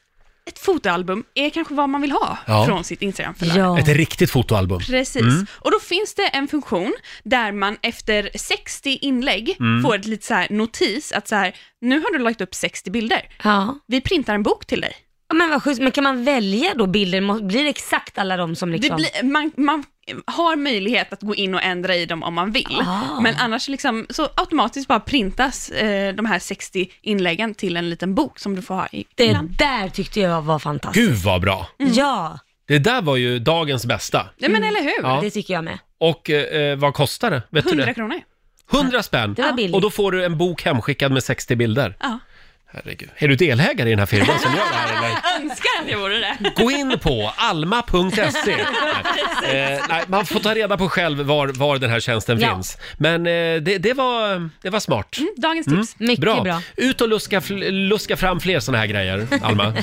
L: ett fotoalbum är kanske vad man vill ha
A: Ja.
L: från sitt Instagram.
A: Ett riktigt fotoalbum?
L: Precis.
A: Mm.
L: Och då finns det en funktion där man efter 60 inlägg
A: Mm.
L: får ett litet så här notis att så här, nu har du lagt upp 60 bilder.
E: Ja.
L: Vi printar en bok till dig.
E: Ja, men vad schysst, men kan man välja då bilder? Må- Blir det exakt alla de som liksom...
L: Det blir, man, man har möjlighet att gå in och ändra i dem om man vill.
E: Ah.
L: Men annars liksom, så automatiskt bara printas eh, de här 60 inläggen till en liten bok som du får ha i
E: Det där tyckte jag var fantastiskt.
A: Gud vad bra!
E: Ja,
A: Det där var ju dagens bästa.
E: Nej, men eller
L: hur?
A: Ja.
E: det tycker jag med.
A: Och eh, vad kostar det? Vet du
L: 100
A: det?
L: kronor.
A: 100 spänn!
E: Det var billigt.
A: Och då får du en bok hemskickad med 60 bilder.
L: Ja.
A: Herregud. Är du delägare i den här firman som gör det här eller?
L: Jag önskar att jag vore det.
A: Gå in på alma.se. Eh, nej, man får ta reda på själv var, var den här tjänsten
L: Ja.
A: finns. Men eh, det, det, var, det var smart.
L: Dagens
A: Mm,
L: tips.
A: Ut och luska, fl- luska fram fler såna här grejer, Alma.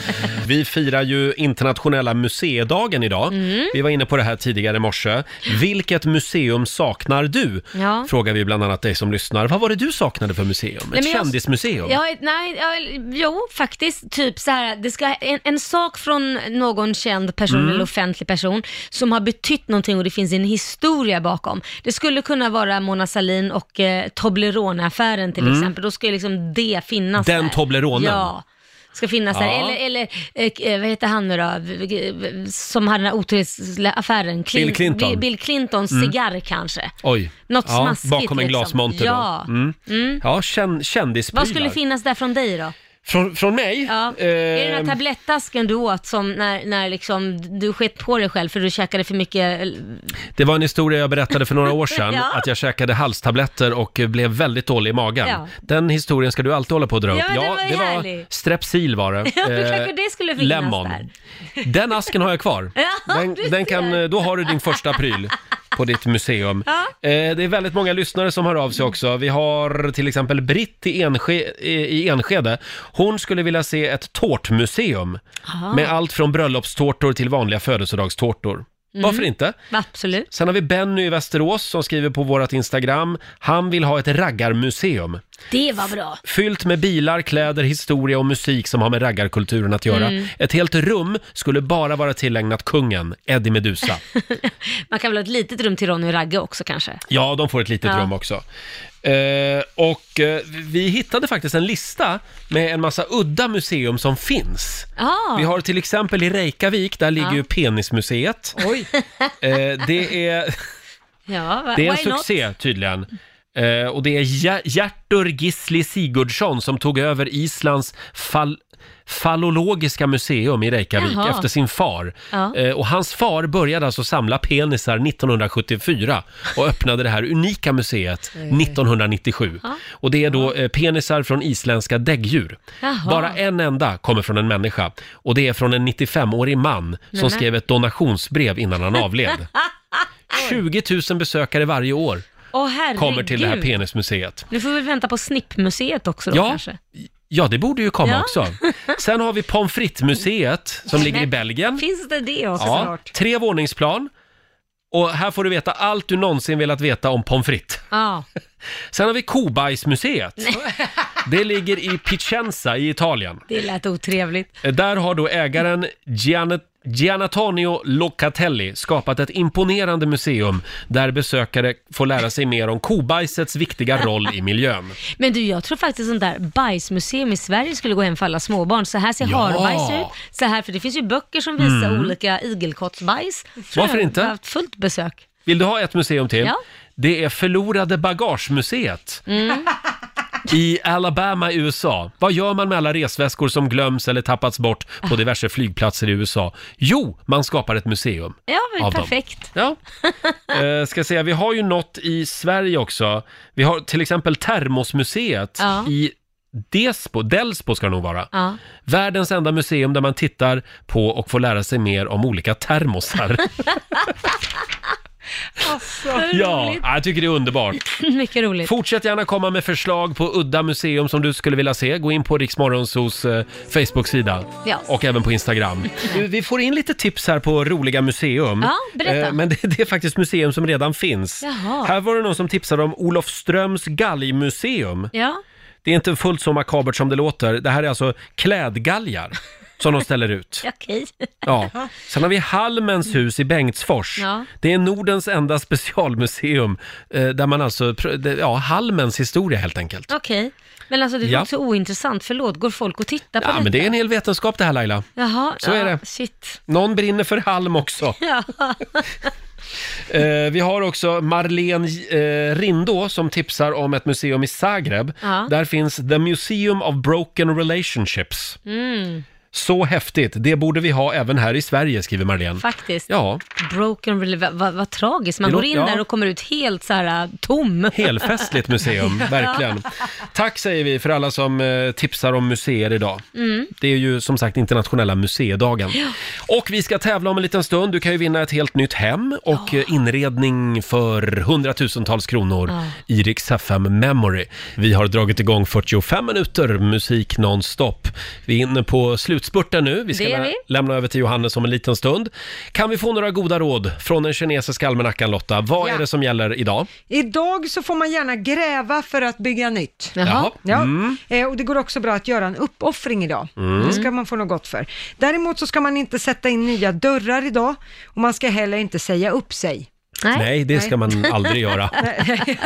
A: Vi firar ju internationella museidagen idag.
E: Mm.
A: Vi var inne på det här tidigare i morse. Vilket museum saknar du?
E: Ja.
A: Frågar vi bland annat dig som lyssnar. Vad var det du saknade för museum?
E: Nej,
A: Ett
E: men jag-
A: kändismuseum?
E: Ja, ett- nej, ja, jo, faktiskt. Typ så här, det ska, en, en sak från någon känd person
A: Mm.
E: eller offentlig person som har betytt någonting och det finns en historia bakom. Det skulle kunna vara Mona Sahlin och eh, Toblerone-affären till
A: Mm.
E: exempel. Då ska ju liksom det finnas
A: Den
E: där.
A: Tobleronen.
E: Ja. Ska finnas där.
A: Ja.
E: Eller, eller eh, eh, vad heter han nu då? V- v- v- Som hade den här otrohetsaffären. Clin-
A: Bill Clinton.
E: Bi- Bill Clintons
A: Mm.
E: cigarr kanske.
A: Oj.
E: Något
A: ja,
E: smaskigt
A: Bakom en
E: liksom.
A: glasmonter
E: Ja.
A: då. Mm.
E: Mm.
A: Ja, känn, kändisprylar.
E: Vad skulle finnas där från dig då?
A: Från, från mig?
E: Ja. Är det den
A: Ehm.
E: här tablettasken du åt som när, när liksom du skett på dig själv för du käkade för mycket? eh,
A: Det var en historia jag berättade för några år sedan,
E: Ja.
A: att jag käkade halstabletter och blev väldigt dålig i magen.
E: Ja.
A: Den historien ska du alltid hålla på att dra upp.
E: Ja, men den var ju härlig.
A: strepsil var det.
E: Ja, det är klart
A: Eh,
E: att det skulle finnas
A: lemon.
E: där.
A: Den asken har jag kvar.
E: Ja,
A: Den, den kan, eh, då har du din första pryl på ditt museum.
E: Ja. Mm.
A: Eh, Det är väldigt många lyssnare som hör av sig också. Vi har till exempel Britt i, Enske, i i Enskede. Hon skulle vilja se ett tårtmuseum
E: Aha.
A: med allt från bröllopstårtor till vanliga födelsedagstårtor.
E: Mm.
A: Varför inte?
E: Absolut.
A: Sen har vi Benny i Västerås som skriver på vårt Instagram. Han vill ha ett raggarmuseum.
E: Det var bra.
A: Fyllt med bilar, kläder, historia och musik som har med raggarkulturen att göra.
E: Mm.
A: Ett helt rum skulle bara vara tillägnat kungen, Eddie Meduza.
E: Man kan väl ha ett litet rum till Ronny och Ragge också kanske?
A: Ja, de får ett litet
E: Ja.
A: rum också. Eh, och eh, vi hittade faktiskt en lista med en massa udda museum som finns.
E: Ah.
A: Vi har till exempel i Reykjavik, där ligger
E: Ja.
A: ju Penismuseet. Eh, det är...
E: Ja, va-
A: Det är en
E: why not?
A: succé tydligen. Eh, och det är Ger- Gertur Gisli Sigurdsson som tog över Islands fall fallologiska museum i Reykjavik
E: Jaha.
A: efter sin far.
E: Ja.
A: Eh, och hans far började alltså samla penisar 1974 och öppnade det här unika museet
E: Mm.
A: 1997.
E: Ja.
A: Och det är då eh, penisar från isländska däggdjur.
E: Jaha.
A: Bara en enda kommer från en människa och det är från en 95-årig man som
E: Nämen.
A: skrev ett donationsbrev innan han avled. 20 000 besökare varje år
E: Åh herregud.
A: kommer till det här penismuseet.
E: Nu får vi vänta på snippmuseet också då
A: Ja.
E: kanske?
A: Ja, det borde ju komma
E: Ja.
A: också. Sen har vi pommes frites-museet som ligger i
E: Men,
A: Belgien.
E: Finns det det också?
A: Ja, tre våningsplan. Och här får du veta allt du någonsin velat veta om pommes frites.
E: Ja.
A: Sen har vi kobajsmuseet. Det ligger i Picenza i Italien.
E: Det lät otrevligt.
A: Eh, Där har då ägaren Gian Gianantonio Locatelli skapat ett imponerande museum där besökare får lära sig mer om kobajsets viktiga roll i miljön.
E: Men du, jag tror faktiskt sånt där bajsmuseum i Sverige skulle gå hem för alla småbarn. Så här ser
A: Ja.
E: harbajs ut. Så här, för det finns ju böcker som visar
A: Mm.
E: olika igelkottsbajs. Tror
A: Varför
E: jag
A: inte?
E: har haft fullt besök.
A: Vill du ha ett museum till?
E: Ja.
A: Det är Förlorade bagagemuseet
E: Mm.
A: i Alabama i USA. Vad gör man med alla resväskor som glöms eller tappats bort på diverse flygplatser i USA? Jo, man skapar ett museum.
E: Ja, men
A: Av dem.
E: perfekt.
A: Ja. Eh, ska säga, vi har ju något i Sverige också. Vi har till exempel Termosmuseet
E: Ja.
A: i Despo, Delsbo ska det nog vara.
E: Ja.
A: Världens enda museum där man tittar på och får lära sig mer om olika termosar.
E: Alltså.
A: ja, jag tycker det är underbart.
E: Mycket roligt.
A: Fortsätt gärna komma med förslag på udda museum som du skulle vilja se. Gå in på Riksmorgonsos eh, Facebook-sida
E: Ja.
A: och även på Instagram. Du, Vi får in lite tips här på roliga museum.
E: Ja, berätta.
A: Eh, Men det, det är faktiskt museum som redan finns.
E: Jaha.
A: Här var det någon som tipsade om Olofströms galgmuseum.
E: Ja.
A: Det är inte fullt så makabert som det låter. Det här är alltså klädgalgar. som de ställer ut.
E: Okej.
A: Ja. Sen har vi Halmens hus i Bengtsfors.
E: Mm. Ja.
A: Det är Nordens enda specialmuseum eh, där man alltså, pr- det- ja, Halmens historia helt enkelt.
E: Okej. Men alltså det
A: Ja.
E: låter så ointressant. Förlåt, går folk och tittar på
A: Ja,
E: detta?
A: men det är en hel vetenskap det här Laila.
E: Jaha,
A: Så är
E: ja,
A: det.
E: Shit.
A: Någon brinner för halm också.
E: Ja.
A: Eh, vi har också Marlene eh, Rindå som tipsar om ett museum i Zagreb.
E: Ja.
A: Där finns The Museum of Broken Relationships.
E: Mm,
A: Så häftigt, det borde vi ha även här i Sverige, skriver Marlene.
E: faktiskt.
A: Ja,
E: Broken Relay, vad va, vad tragiskt. Man
A: Det
E: går
A: låter-
E: in
A: ja.
E: där och kommer ut helt så här äh, tom.
A: helfestligt museum, verkligen. Tack säger vi för alla som eh, tipsar om museer idag.
E: Mm.
A: Det är ju som sagt internationella museidagen.
E: Ja.
A: Och vi ska tävla om en liten stund. Du kan ju vinna ett helt nytt hem och eh, inredning för hundratusentals kronor
E: Ja.
A: i Rix FM Memory. Vi har dragit igång 45 minuter musik nonstop. Vi är inne på slutspurten nu. Vi ska
E: Det är
A: lä-
E: vi.
A: lämna över till Johannes om en liten stund. Kan vi få några goda råd från den kinesiska almanackan Lotta? Vad
B: Ja.
A: är det som gäller idag?
B: Idag så får man gärna gräva för att bygga nytt.
A: Jaha.
B: Ja.
A: Mm.
B: Eh, och det går också bra att göra en uppoffring idag.
A: Mm.
B: Det ska man få något gott för. Däremot så ska man inte sätta in nya dörrar idag och man ska heller inte säga upp sig.
A: Nej, det ska man aldrig göra.
B: Nej.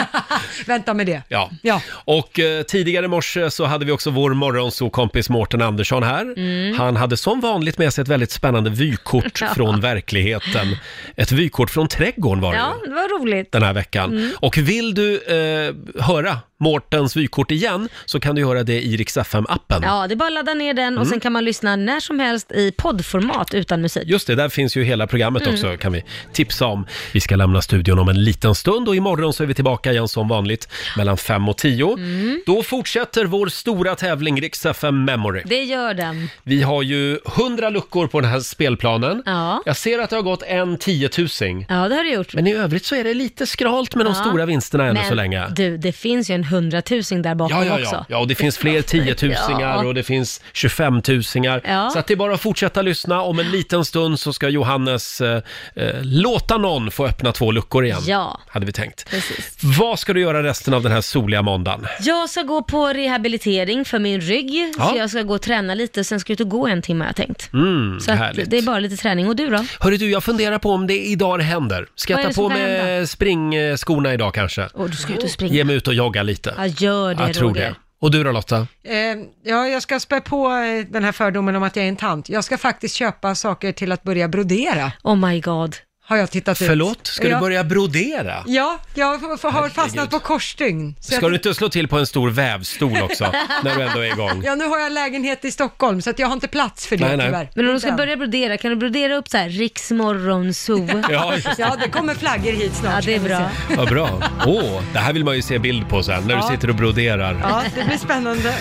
B: Vänta med det.
A: Ja.
B: Ja.
A: Och eh, tidigare i morse så hade vi också vår morgonsokompis Mårten Andersson här.
E: Mm.
A: Han hade som vanligt med sig ett väldigt spännande vykort
E: Ja.
A: från verkligheten. Ett vykort från trädgården var det
E: Ja, det var roligt.
A: den här veckan.
E: Mm.
A: Och vill du eh, höra Mårtens vykort igen så kan du göra det i Rix FM-appen.
E: Ja, det är bara att ladda ner den och
A: Mm.
E: sen kan man lyssna när som helst i poddformat utan musik.
A: Just det, där finns ju hela programmet
E: Mm.
A: också kan vi tipsa om. Vi ska lämna studion om en liten stund och imorgon så är vi tillbaka igen som vanligt mellan 5 och 10.
E: Mm.
A: Då fortsätter vår stora tävling Rix FM Memory.
E: Det gör den.
A: Vi har ju 100 luckor på den här spelplanen.
E: Ja.
A: Jag ser att det har gått en tiotusing.
E: Ja, det har du gjort.
A: Men i övrigt så är det lite skralt med de stora vinsterna ännu
E: Men
A: så länge.
E: du, det finns ju en hundratusing där bakom
A: Ja, ja, ja.
E: också.
A: ja, och det finns fler tiotusingar
E: Ja.
A: och det finns 25-tusingar.
E: Ja.
A: Så att det är bara att fortsätta lyssna. Om en liten stund så ska Johannes eh, eh, låta någon få öppna två luckor igen.
E: Ja.
A: Hade vi tänkt.
E: Precis.
A: Vad ska du göra resten av den här soliga måndagen?
E: Jag ska gå på rehabilitering för min rygg,
A: Ja.
E: så jag ska gå och träna lite, sen ska jag ut och gå en timme har jag tänkt.
A: Mm,
E: Så att
A: härligt.
E: det är bara lite träning. Och du då?
A: Hörru du, jag funderar på om det idag det händer. Ska
E: Vad är
A: jag
E: det
A: ta på
E: som kan
A: mig springskorna idag kanske?
E: Åh, du ska ut och springa.
A: Ge mig ut och jogga lite.
E: Ja, gör det
A: jag tror
E: Roger.
A: det. Och du då Lotta?
B: Eh, ja, jag ska spä på eh, den här fördomen om att jag är en tant. Jag ska faktiskt köpa saker till att börja brodera.
E: Oh my god.
B: Har jag tittat ut.
A: Förlåt, ska
B: Ja.
A: du börja brodera?
B: Ja, jag f- f- har fastnat på korsstygn. Så
A: Ska
B: jag-
A: du inte slå till på en stor vävstol också, när du ändå är igång?
B: Ja, nu har jag lägenhet i Stockholm så att jag har inte plats för det
A: Nej, nej.
B: tyvärr.
E: Men om du ska
B: Inte än.
E: börja brodera, kan du brodera upp så här Riksmorgonzoo?
A: Ja, just det.
B: Ja, det kommer flaggor hit snart.
E: Ja, det är bra.
A: Vad bra. Åh, det här vill man ju se bild på sen, när
B: Ja.
A: du sitter och broderar.
B: Ja, det blir spännande.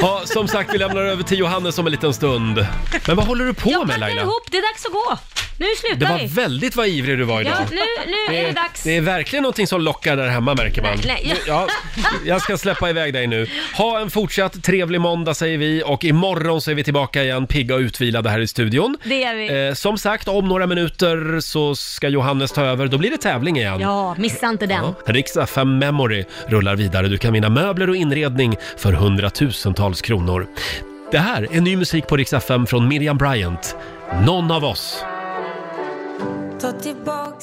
A: Ja, som sagt, vi lämnar över till Johannes om en liten stund. Men vad håller du på med
E: Packar
A: Laila?
E: ihop, det är dags att gå. Nu
A: Det
E: slutar vi.
A: var väldigt vad ivrig du var idag.
E: Ja, nu, nu är det dags.
A: det är verkligen någonting som lockar där hemma märker man.
E: Nej, nej.
A: Ja, jag ska släppa iväg dig nu. Ha en fortsatt trevlig måndag säger vi och imorgon så är vi tillbaka igen pigga och utvilade här i studion.
E: Det är vi.
A: Eh, som sagt, om några minuter så ska Johannes ta över. Då blir det tävling igen.
E: Ja, missa inte den.
A: Rix FM Memory rullar vidare. Du kan vinna möbler och inredning för hundratusentals kronor. Det här är ny musik på Rix FM från Miriam Bryant. Någon av oss.
C: Ta tillbaks